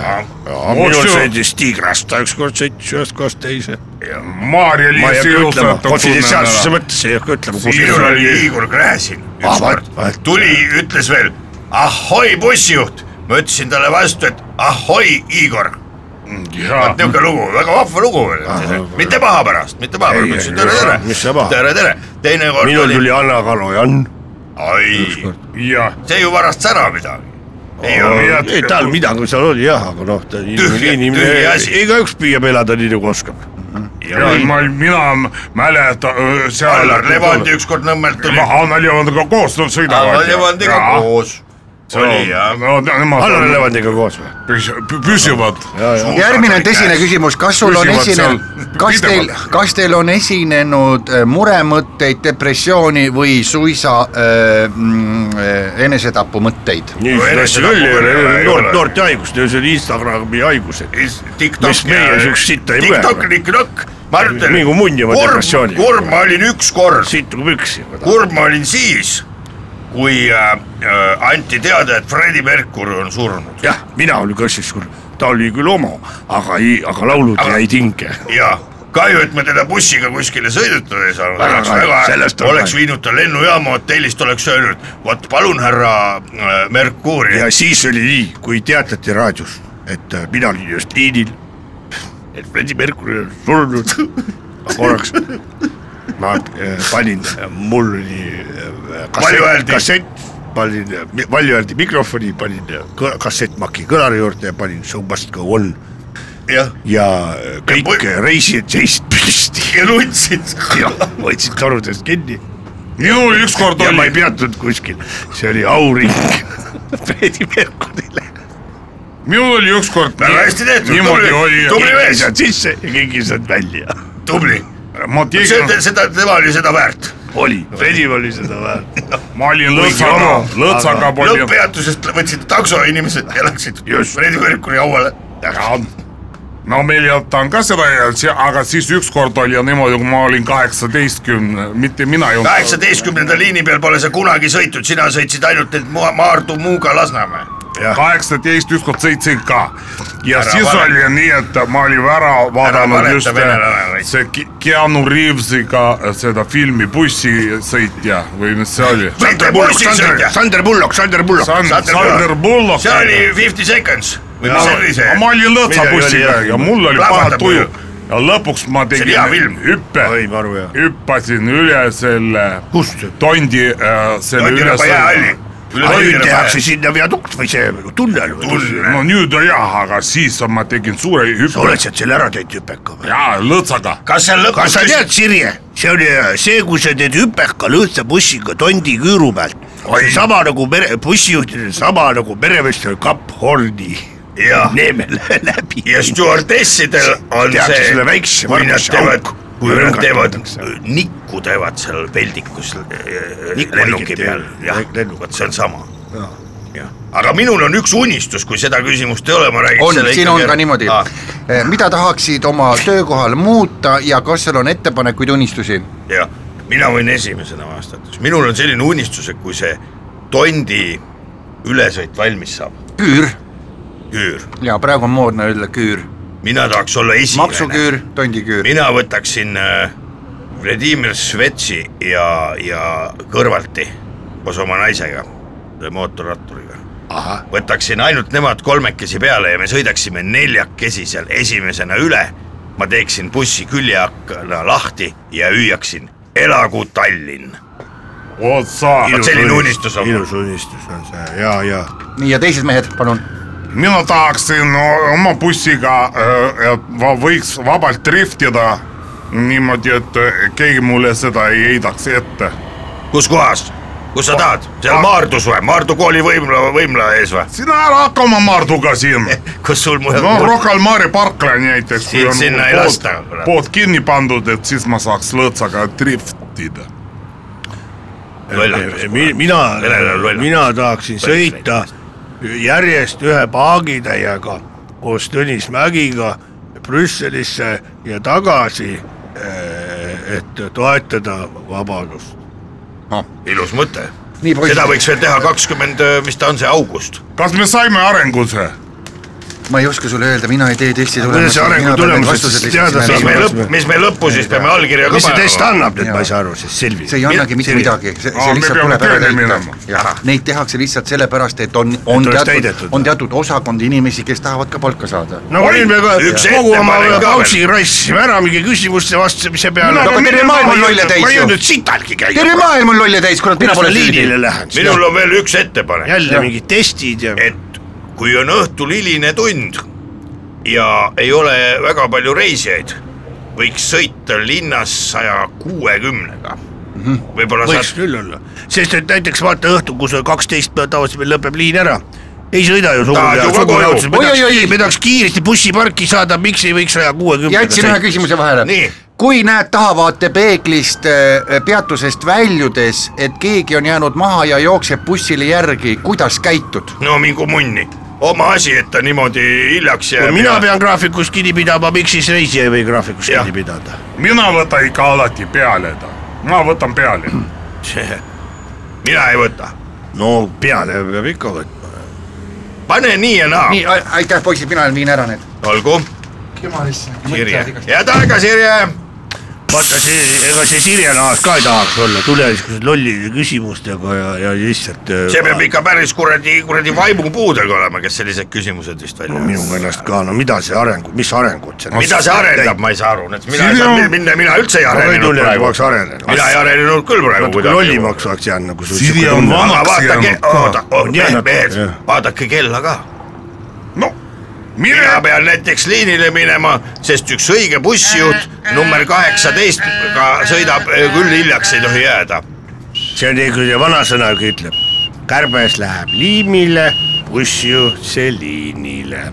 minul Otsu- sõitis Tigrast , ta ükskord sõitis ühest kohast teise . ma ei Maarja-Liis hakka ütlema , Jõusaat on konfidentsiaalsuse mõttes ei hakka minul ütlema . oli Igor Gräzin Ah, ükskord vaat- vaat- , tuli , ütles veel ahoi , bussijuht , ma ütlesin talle vastu , et ahoi , Igor Ah. tunne . niisugune lugu , väga vahva lugu oli , mitte paha pärast , mitte paha pärast , ma ütlesin tere , tere , mis see paha. tere , tere , teinekord minul tuli Anna Kalojan . ai , jah , see ju varastas ära midagi . ei ei , olnud ei tal midagi seal oli jah , aga noh , ta Tühja- tühi asi. igaüks püüab elada nii nagu oskab . ja ma , mina mäletan öö, seal . Allar Levandi ükskord Nõmmelt tuli , Anna Levandiga koos nad sõidavad . Allar Levandiga . koos , see oli jah . Allar . Levandiga koos või ? püsivad . järgmine on tõsine . küsimus , kas sul on Küsivad seal esinenud , kas teil pidevalt. , kas teil on esinenud äh, muremõtteid , depressiooni või suisa äh, mm, äh, enesetapumõtteid ? niisugust No asja küll ei enesetappu ei ole , ole, noort ei , ole. noorte haigust , see on Instagrami haigus . TikTok Mis meie siukest sitta ei põe. TikTok , TikTok , ma ütlen . Mingu munjama depressiooni. kurb ma olin ükskord , siit nagu püksi . kurb ma olin siis , kui äh, äh, anti teada , et Freddie Mercury on surnud . jah , mina olin ka siis , ta oli küll homo , aga ei , aga laulud Aga- jäid hinge . ja kahju , et me teda bussiga kuskile sõidutada ei saanud , Väga oleks kahju, sellest väga , on oleks kahju. viinud ta lennujaama hotellist , oleks öelnud , vot palun härra äh, Merkuuri ja , siis oli nii , kui teatati raadios , et äh, mina olin just liinil , et Freddie Mercury on surnud . ma korraks , ma äh, panin , mul oli äh, kassett , Valjuhääldi. kassett , panin äh, palju öeldi mikrofoni , panin äh, kõ- kassettmaki kõlari juurde ja panin So must go on jah , ja äh, kõik Ja ja reisijad seisid püsti ja nutsid . ja võtsid torudest kinni minul ükskord ja ma ei oli , peatunud kuskil , see oli auring Freddie Mercury'le . minul oli ükskord . väga hästi tehtud , niimoodi oli tubli ,. tubli mees , saad sisse ja keegi saad välja . tubli , ma seda , tegin , seda , tema oli seda väärt . oli , Fredi oli seda väärt . ma olin lõtsaga , lõtsaga palju . lõpppeatusest võtsid takso inimesed ja läksid Fredi Merkuri hauale . no meil ei olnud tanka seda , aga siis ükskord oli ju niimoodi , kui ma olin kaheksateistkümne , mitte mina ei olnud . kaheksateistkümnenda liini peal pole sa kunagi sõitnud , sina sõitsid ainult need Mua- Maardu , Muuga , Lasnamäe . kaheksateist ükskord sõitsin ka ja Ära ära siis valeta. valeta. oli nii , et ma olin ära vaadanud valeta ära just äh, venelane, vaid- see Ke- Keanu Reavesiga äh, seda filmi Bussisõitja või mis see oli ? Sander Bullock , Sander , Sander Bullock , Sander Bullock . Sander Bullock . see oli Fifty Seconds või mis see oli see ? ma olin lõõtsa Midagi oli, bussiga jah. ja mul oli paha Plahvatab tuju ju. ja lõpuks ma on hea film. tegin hüppe oi , maru hea . hüppasin üle selle Kust? tondi äh, , selle Tondi üle lõpa jäähalli. Üle Aga tondi nüüd lõpa tehakse jäähalli. sinna viadukt või see tunnel või ? no nüüd on jah , aga siis ma tegin suure hüppe sealt selle ära teinud hüpeka või ? ja lõõtsaga . kas seal lõpus kas sa tead , Sirje , see oli äh, see , kui sa teed hüpeka lõõtsa bussiga tondi küüru pealt . sama nagu mere , bussijuhtidel sama nagu meremeestel kapp horni Jah. neemel läbi . ja stjuardessidel on Tehakse see selle väikse kui nad varbusse teevad auk, , kui nad teevad rõngatakse. nikku teevad seal peldikus eh, Nikku lennuki õiget peal teevad. , jah Lenn- , lennuki. vot see on sama . jah , aga minul on üks unistus , kui seda küsimust ei ole , ma räägin on selle , siin on ikkagi ka ära. niimoodi Äh, Aa, . mida tahaksid oma töökohal muuta ja kas sul on ettepanekuid , unistusi ? jah , mina võin esimesena vastata , minul on selline unistus , et kui see tondi ülesõit valmis saab , küür . küür , ja praegu on moodne öelda küür . mina tahaks olla esimene . maksuküür , tondiküür . mina võtaksin äh, Vladimir Svetši ja , ja kõrvalti koos oma naisega , mootorratturiga . võtaksin ainult nemad kolmekesi peale ja me sõidaksime neljakesi seal esimesena üle . ma teeksin bussi küljeakna lahti ja hüüaksin elagu Tallinn . vot sa , Vot selline unistus on mul. ilus unistus on see ja , ja nii ja teised mehed , palun . mina tahaksin o- oma bussiga , et ma võiks vabalt driftida niimoodi , et äh, keegi mulle seda ei heidaks ette . kus kohas , kus sa tahad , seal ma- Maardus või , Maardu kooli võimla , võimla ees või ? sina ära hakka oma Maarduga siin . kus sul mujal no Rocca al Mare parkla näiteks . Siin- sinna ei lasta, kurat. pood kinni pandud , et siis ma saaks lõõtsaga driftida . lollakas Mi- mina Venelane on , lollakas. mina tahaksin sõita järjest ühe paagitäiega koos Tõnis Mägiga Brüsselisse ja tagasi , et toetada vabadust . ilus mõte . nii seda poiss , võiks veel teha kakskümmend , mis ta on see , august kas me saime arenguse ? ma ei oska sulle öelda , mina ei tee testi Kuidas tulemust see . arengu tulemusest teada saab? mis me Arvan, lõpp et , me- mis me lõppu siis peame allkirja ka mis see test panema . annab nüüd , Jaa. ma ei saa aru , siis Silvi . see ei annagi mitte midagi , see , Aa, see me lihtsalt peame tuleb ära tööle minema. täita . Neid tehakse lihtsalt sellepärast , et on , on oleks teatud täidetud. , on teatud osakond inimesi , kes tahavad ka palka saada . no olin me ka Üks kogu oma ettepanek ka pausi rassisime ära mingi küsimuste vastamise peale No aga terve maailm on lolle täis ma ei ju. jõudnud sitalgi käia . terve maailm on lolle täis , kurat , mina kuidas ma pole süüdi . liinile lähen siis? minul on veel üks ettepanek , jälle mingid testid ja et kui on õhtul hiline tund ja ei ole väga palju reisijaid , võiks sõita linnas saja kuuekümnega . Mhm. võib-olla võiks saad , küll olla , sest et näiteks vaata õhtul , kui sul kaksteist peal tavaliselt meil lõpeb liin ära , ei sõida ju Tahad sugugi ju . ka koju? oi-oi-oi , me tahaks kiiresti bussiparki saada , miks ei võiks saja kuuekümnega jätsin ühe küsimuse vahele Nii. . kui näed tahavaatepeeglist äh, peatusest väljudes , et keegi on jäänud maha ja jookseb bussile järgi , kuidas käitud ? no mingu munni , oma asi , et ta niimoodi hiljaks kui jääb . mina pean graafikust kinni pidama , miks siis reisija ei või graafikust Jah. kinni pidada ? mina võtan ikka alati peale ta , ma võtan peale . mina ei võta , no peale peab ikka võtma . pane nii ja naa , nii , aitäh poisid , mina viin ära need . olgu , Sirje , head aega , Sirje vaata see , ega see Sirje Laas ka ei tahaks olla , tule niisuguse lollide küsimustega ja , ja lihtsalt . äh, see peab ikka päris kuradi , kuradi vaimupuudega olema , kes sellised küsimused vist välja minu no, . meelest ka , no mida see areng , mis arengud see mida see arendab ,? ma ei saa aru , et mina ei Siin saa on- minna , mina üldse ei ma ei arenenud tunne , et ma praegu oleks . arenenud . mina ei arenenud küll praegu natuke lollimaks oleks jäänud nagu . Sirje on vana. aga Vanaks vaadake jäänud , ka. oota , On jäänud, mehed , mehed jah. , vaadake kella ka . no mina mine pean näiteks liinile minema , sest üks õige bussijuht number kaheksateist ka sõidab , küll hiljaks ei tohi jääda . see on nii , kui see vanasõna ütleb , kärbes läheb liimile , bussijuhtse liinile .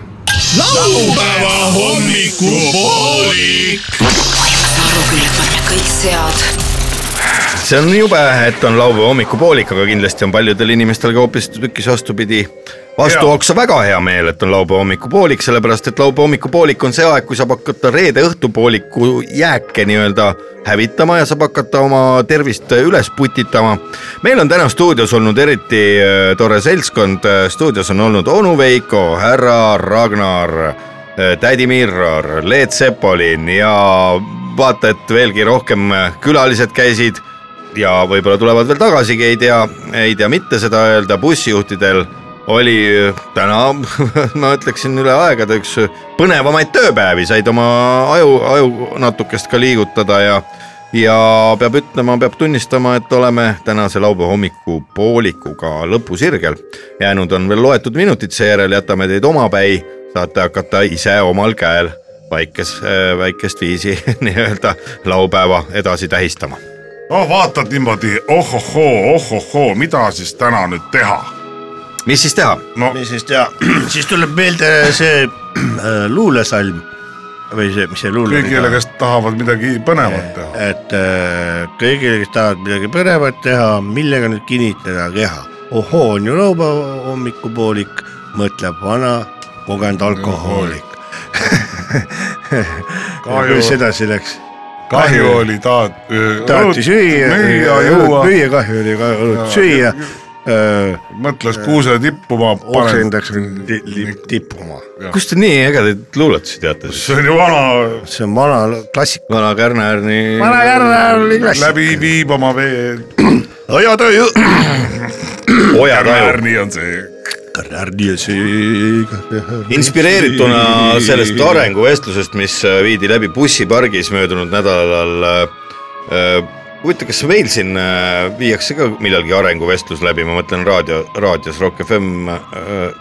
laupäeva hommikupoolik . Salukülla panna kõik sead see on jube , et on laupäeva hommikupoolik , aga kindlasti on paljudel inimestel ka hoopistükkis vastupidi . vastu Jaa. oleks väga hea meel , et on laupäeva hommikupoolik , sellepärast et laupäeva hommikupoolik on see aeg , kui saab hakata reede õhtupooliku jääke nii-öelda hävitama ja saab hakata oma tervist üles putitama . meil on täna stuudios olnud eriti äh, tore seltskond , stuudios on olnud onu Veiko , härra Ragnar äh, tädi Mirror , Leet Sepolin ja vaata , et veelgi rohkem äh, külalised käisid ja võib-olla tulevad veel tagasigi , ei tea , ei tea mitte seda öelda , bussijuhtidel oli täna ma ütleksin üle aegade üks põnevamaid tööpäevi , said oma aju , aju natukest ka liigutada ja ja peab ütlema , peab tunnistama , et oleme tänase laupäeva hommikupoolikuga lõpusirgel . jäänud on veel loetud minutid , seejärel jätame teid omapäi , saate hakata ise omal käel väikes , väikest viisi nii-öelda laupäeva edasi tähistama . no Oh, vaatad niimoodi , ohohoo , ohohoo , mida siis täna nüüd teha ? mis siis teha ? no mis siis teha , siis tuleb meelde see äh, luulesalm või see , mis see luule . kõigile , kes tahavad midagi põnevat teha .. et äh, kõigile , kes tahavad midagi põnevat teha , millega nüüd kinnitada keha . ohoo , on ju laupäeva hommikupoolik , mõtleb vana kogenud alkohoolik Kahju- kuidas edasi läks ? kahju oli taat- . tahtis süüa , müüa , juua , müüa kahju oli ka õlut süüa . Äh, mõtles kuuse tippuma . oksendaks tippuma . kus te nii ägedaid luuletusi teate ? see on ju vana , see on vana klassik . vana Kärnerni . vana kärra oli klassik . läbi viib oma vee . oja töö . oja taju . Kärni on see . Kärni sööga . inspireerituna sellest arenguvestlusest , mis äh, viidi läbi bussipargis möödunud nädalal . huvitav , kas meil siin äh, viiakse ka millalgi arenguvestlus läbi , ma mõtlen raadio , raadios Rock FM äh,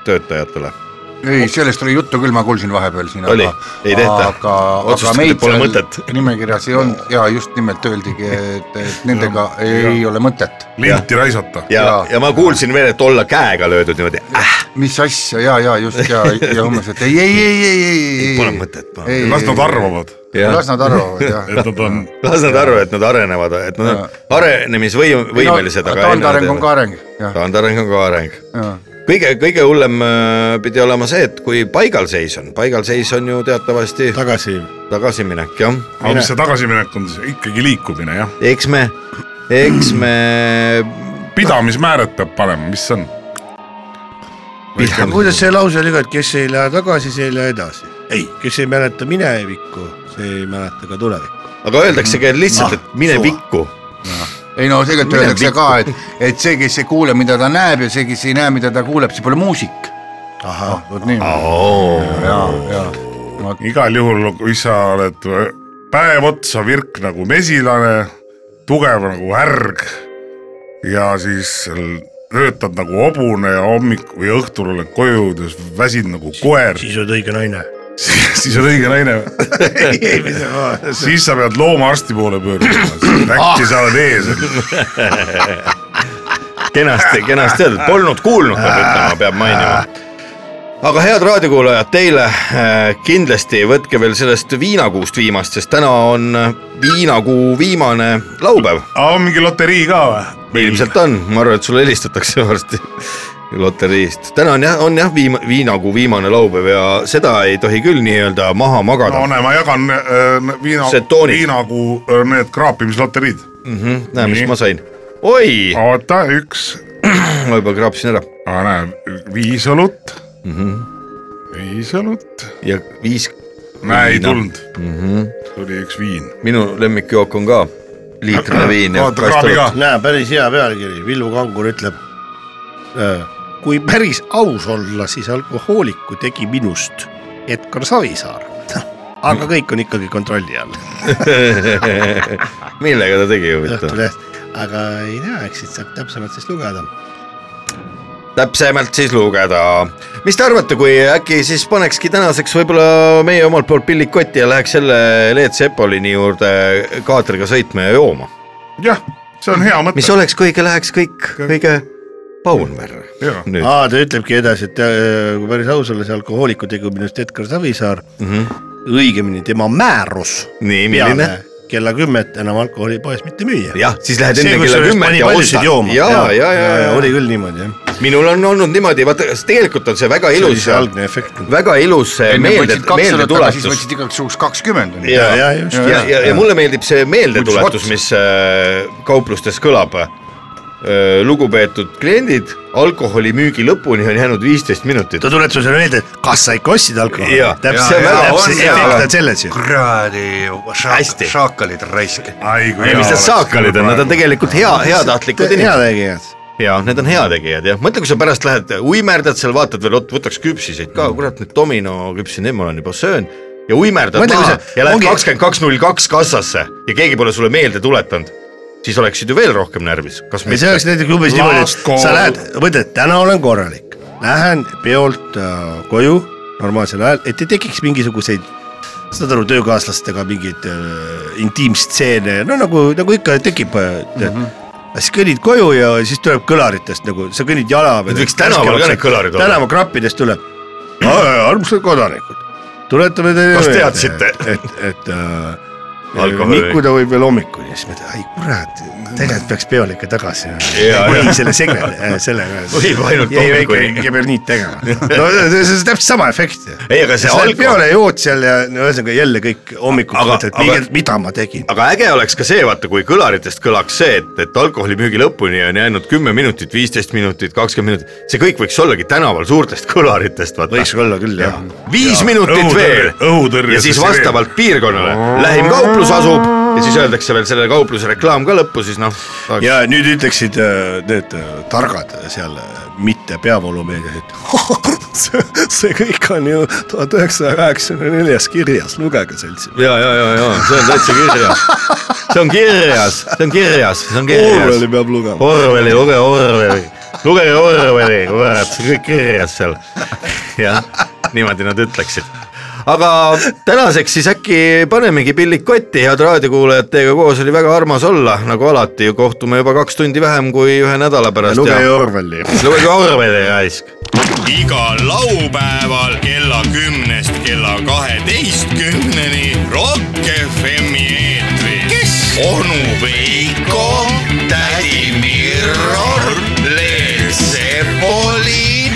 töötajatele . ei , sellest oli juttu küll , ma kuulsin vahepeal siin . Oli? Ei tehta? aga , aga Otsustati, meid pole seal mõtet. nimekirjas ei olnud ja just nimelt öeldigi , et , et nendega ei ole mõtet . linti raisata . ja Jaa. , ja ma kuulsin veel , et olla käega löödud niimoodi äh, . mis asja ja , ja just ja , ja umbes , et ei , ei , ei , ei , ei , Pole ei , mõtet . ei , las nad arvavad , las nad arvavad jah . et nad on las nad arvavad , et nad arenevad , et nad on Jaa. arenemisvõim- , võimelised , aga . taandareng on ka . areng , jah , taandareng on ka areng jah . kõige , kõige hullem äh, pidi olema see , et kui paigalseis on , paigalseis on ju teatavasti tagasi tagasiminek , jah . aga mis see tagasiminek on siis , ikkagi liikumine jah , eks me , eks me , pidamismääret peab panema , mis see on ? aga kuidas see lause oli ka , et kes ei lähe tagasi , see ei lähe edasi . ei , kes ei mäleta minevikku , see ei mäleta ka tulevikku . aga öeldaksegi lihtsalt , et mine suva. pikku . ei no tegelikult Mine öeldakse pikku. ka , et , et see , kes ei kuule , mida ta näeb ja see , kes ei näe , mida ta kuuleb , see pole muusik . ahah , vot nii . ja , ja , igal juhul , kui sa oled päev otsa virk nagu mesilane , tugev nagu härg ja siis seal röötad nagu hobune ja hommik või õhtul oled koju jõudes väsinud nagu koer , siis oled õige naine . siis on õige naine . siis sa pead loomaarsti poole pöörduma , Ah! äkki sa oled ees . kenasti , kenasti öeldud , polnud kuulnud , peab ütlema , peab mainima . aga head raadiokuulajad , teile äh, kindlasti võtke veel sellest viinakuust viimast , sest täna on eh, viinakuu viimane laupäev . aga on mingi loterii ka või ? ilmselt on , ma arvan , et sulle helistatakse varsti loteriist . täna on jah , on jah , viima- , viinakuu viimane laupäev ja seda ei tohi küll nii-öelda maha magada no . näe , ma jagan äh, viina See , toonik. viinakuu äh, need kraapimisloteriid . mm, . näe , mis Nii. ma sain . oi , oota , üks , ma juba kraapsin ära näe , viis õlut mm . Mhm. -hmm. viis õlut . ja viis . näe , ei tulnud mm . Mhm. -hmm. tuli üks viin . minu lemmikjook on ka liitrine viin . vaata kraabi ka . näe , päris hea pealkiri , Villu Kangur ütleb . kui päris aus olla , siis alkohooliku tegi minust Edgar Savisaar . aga kõik on ikkagi kontrolli all . millega ta tegi huvitav ? Õhtuleht , aga ei tea , eks siit saab täpsemalt siis lugeda . täpsemalt siis lugeda . mis te arvate , kui äkki siis panekski tänaseks võib-olla meie omalt poolt pillid kotti ja läheks selle Leet Sepolini juurde kaatriga sõitma ja jooma ? jah , see on hea mõte mis . oleks , kui ikka läheks kõik kõige Paunverre . Nüüd. aa , ta ütlebki edasi , et äh, kui päris aus olla , see alkohooliku tegu minu arust Edgar Savisaar mm , -hmm. õigemini tema määrus . Nii, milline? ? kella kümmet enam alkoholipoes mitte müüa . Jah, siis lähed enne kella kümmet ja ostad. ja , ja , ja , ja, ja , oli küll niimoodi jah . minul on olnud niimoodi , vaata , tegelikult on see väga see oli ilus see , algne efekt . väga ilus see enne meelde võtsid , kaks õlut ära , siis meeldetuletus võtsid igaks juhuks kakskümmend . ja , ja just . ja , ja, ja , ja mulle meeldib see meeldetuletus , mis äh, kauplustes kõlab . lugupeetud kliendid , alkoholi müügi lõpuni on jäänud viisteist minutit . ta tuletas sulle meelde , et kas sa ikka ostsid alkoholi Jaa. . Jaa, täpselt , jaa, on, täpselt , jaa. efekt on selles ju . kuradi šaak- Hästi. šaakalid raisk . ai kui ei , mis hea need saakalid on , nad on praegu. tegelikult hea , heatahtlikud inimesed . heategijad . ja need on heategijad jah , mõtle , kui sa pärast lähed uimerdad seal , vaatad veel , oot võtaks küpsiseid Mm. ka , kurat need domino küpsi , neid ma olen juba söönud ja uimerdad Mõtle, kui maha see- ja lähed ongi- kakskümmend kaks null kaks kassasse ja keegi pole sulle meelde tuletanud , siis oleksid ju veel rohkem närvis , kas ja see mitte oleks ? näiteks umbes niimoodi , Last et call. sa lähed , mõtled , täna olen korralik , lähen peolt äh, koju normaalsel ajal , et ei tekiks mingisuguseid , saad aru , töökaaslastega mingeid äh, intiimstseene , no nagu , nagu ikka tekib äh, tead Mhm. mm . -hmm siis kõnnid koju ja siis tuleb kõlaritest nagu , sa kõnnid jala peal . Nüüd võiks tänaval ka need kõlarid olla. olla . tänavakrappidest tuleb . armsad kodanikud , tuletame teile . Kas teadsite? et , et äh, Alkoholi- nikkuda võib veel hommikuni , siis mõtled , ai kurat , tegelikult peaks peole ikka tagasi Jaa, minema . ei , selle segre , selle . Võib ainult hommikuni. ja peab nii tegema . no see see on täpselt sama efekt ju . Ei, aga see alko- peole jood seal ja no ühesõnaga jälle kõik hommikuks Aga- mõtled , aga- mida , mida ma tegin . aga äge oleks ka see , vaata , kui kõlaritest kõlaks see , et , et alkoholi müügi lõpuni on jäänud kümme minutit , viisteist minutit , kakskümmend minutit , see kõik võiks ollagi tänaval suurtest kõlaritest , vaata . võiks olla küll jah . viis minutit õhutõrje- veel õhutõrje ja siis süsteem. vastavalt piirkonnale lähim kauplus asub ja siis öeldakse veel selle kaupluse reklaam ka lõppu , siis noh . ja nüüd ütleksid äh, need äh, targad seal äh, mitte peavoolumeedias , et "Oh, see, see kõik on ju tuhat üheksasaja kaheksakümne neljas kirjas , lugege seltsi . ja , ja , ja , ja see on täitsa kirjas . see on kirjas , see on kirjas , see on Orwelli kirjas . peab lugema . Orwelli , luge Orwelli , lugege Orwelli , kurat , see on kõik kirjas seal . jah , niimoodi nad ütleksid . aga tänaseks siis äkki panemegi pillid kotti , head raadiokuulajad , teiega koos oli väga armas olla , nagu alati , kohtume juba kaks tundi vähem kui ühe nädala pärast . lugege Orwelli . lugege Orwelli raisk . igal laupäeval kella kümnest kella kaheteistkümneni Rock FM-i eetris . kes ? onu Veiko , tädi Mirro , Leet Sepoli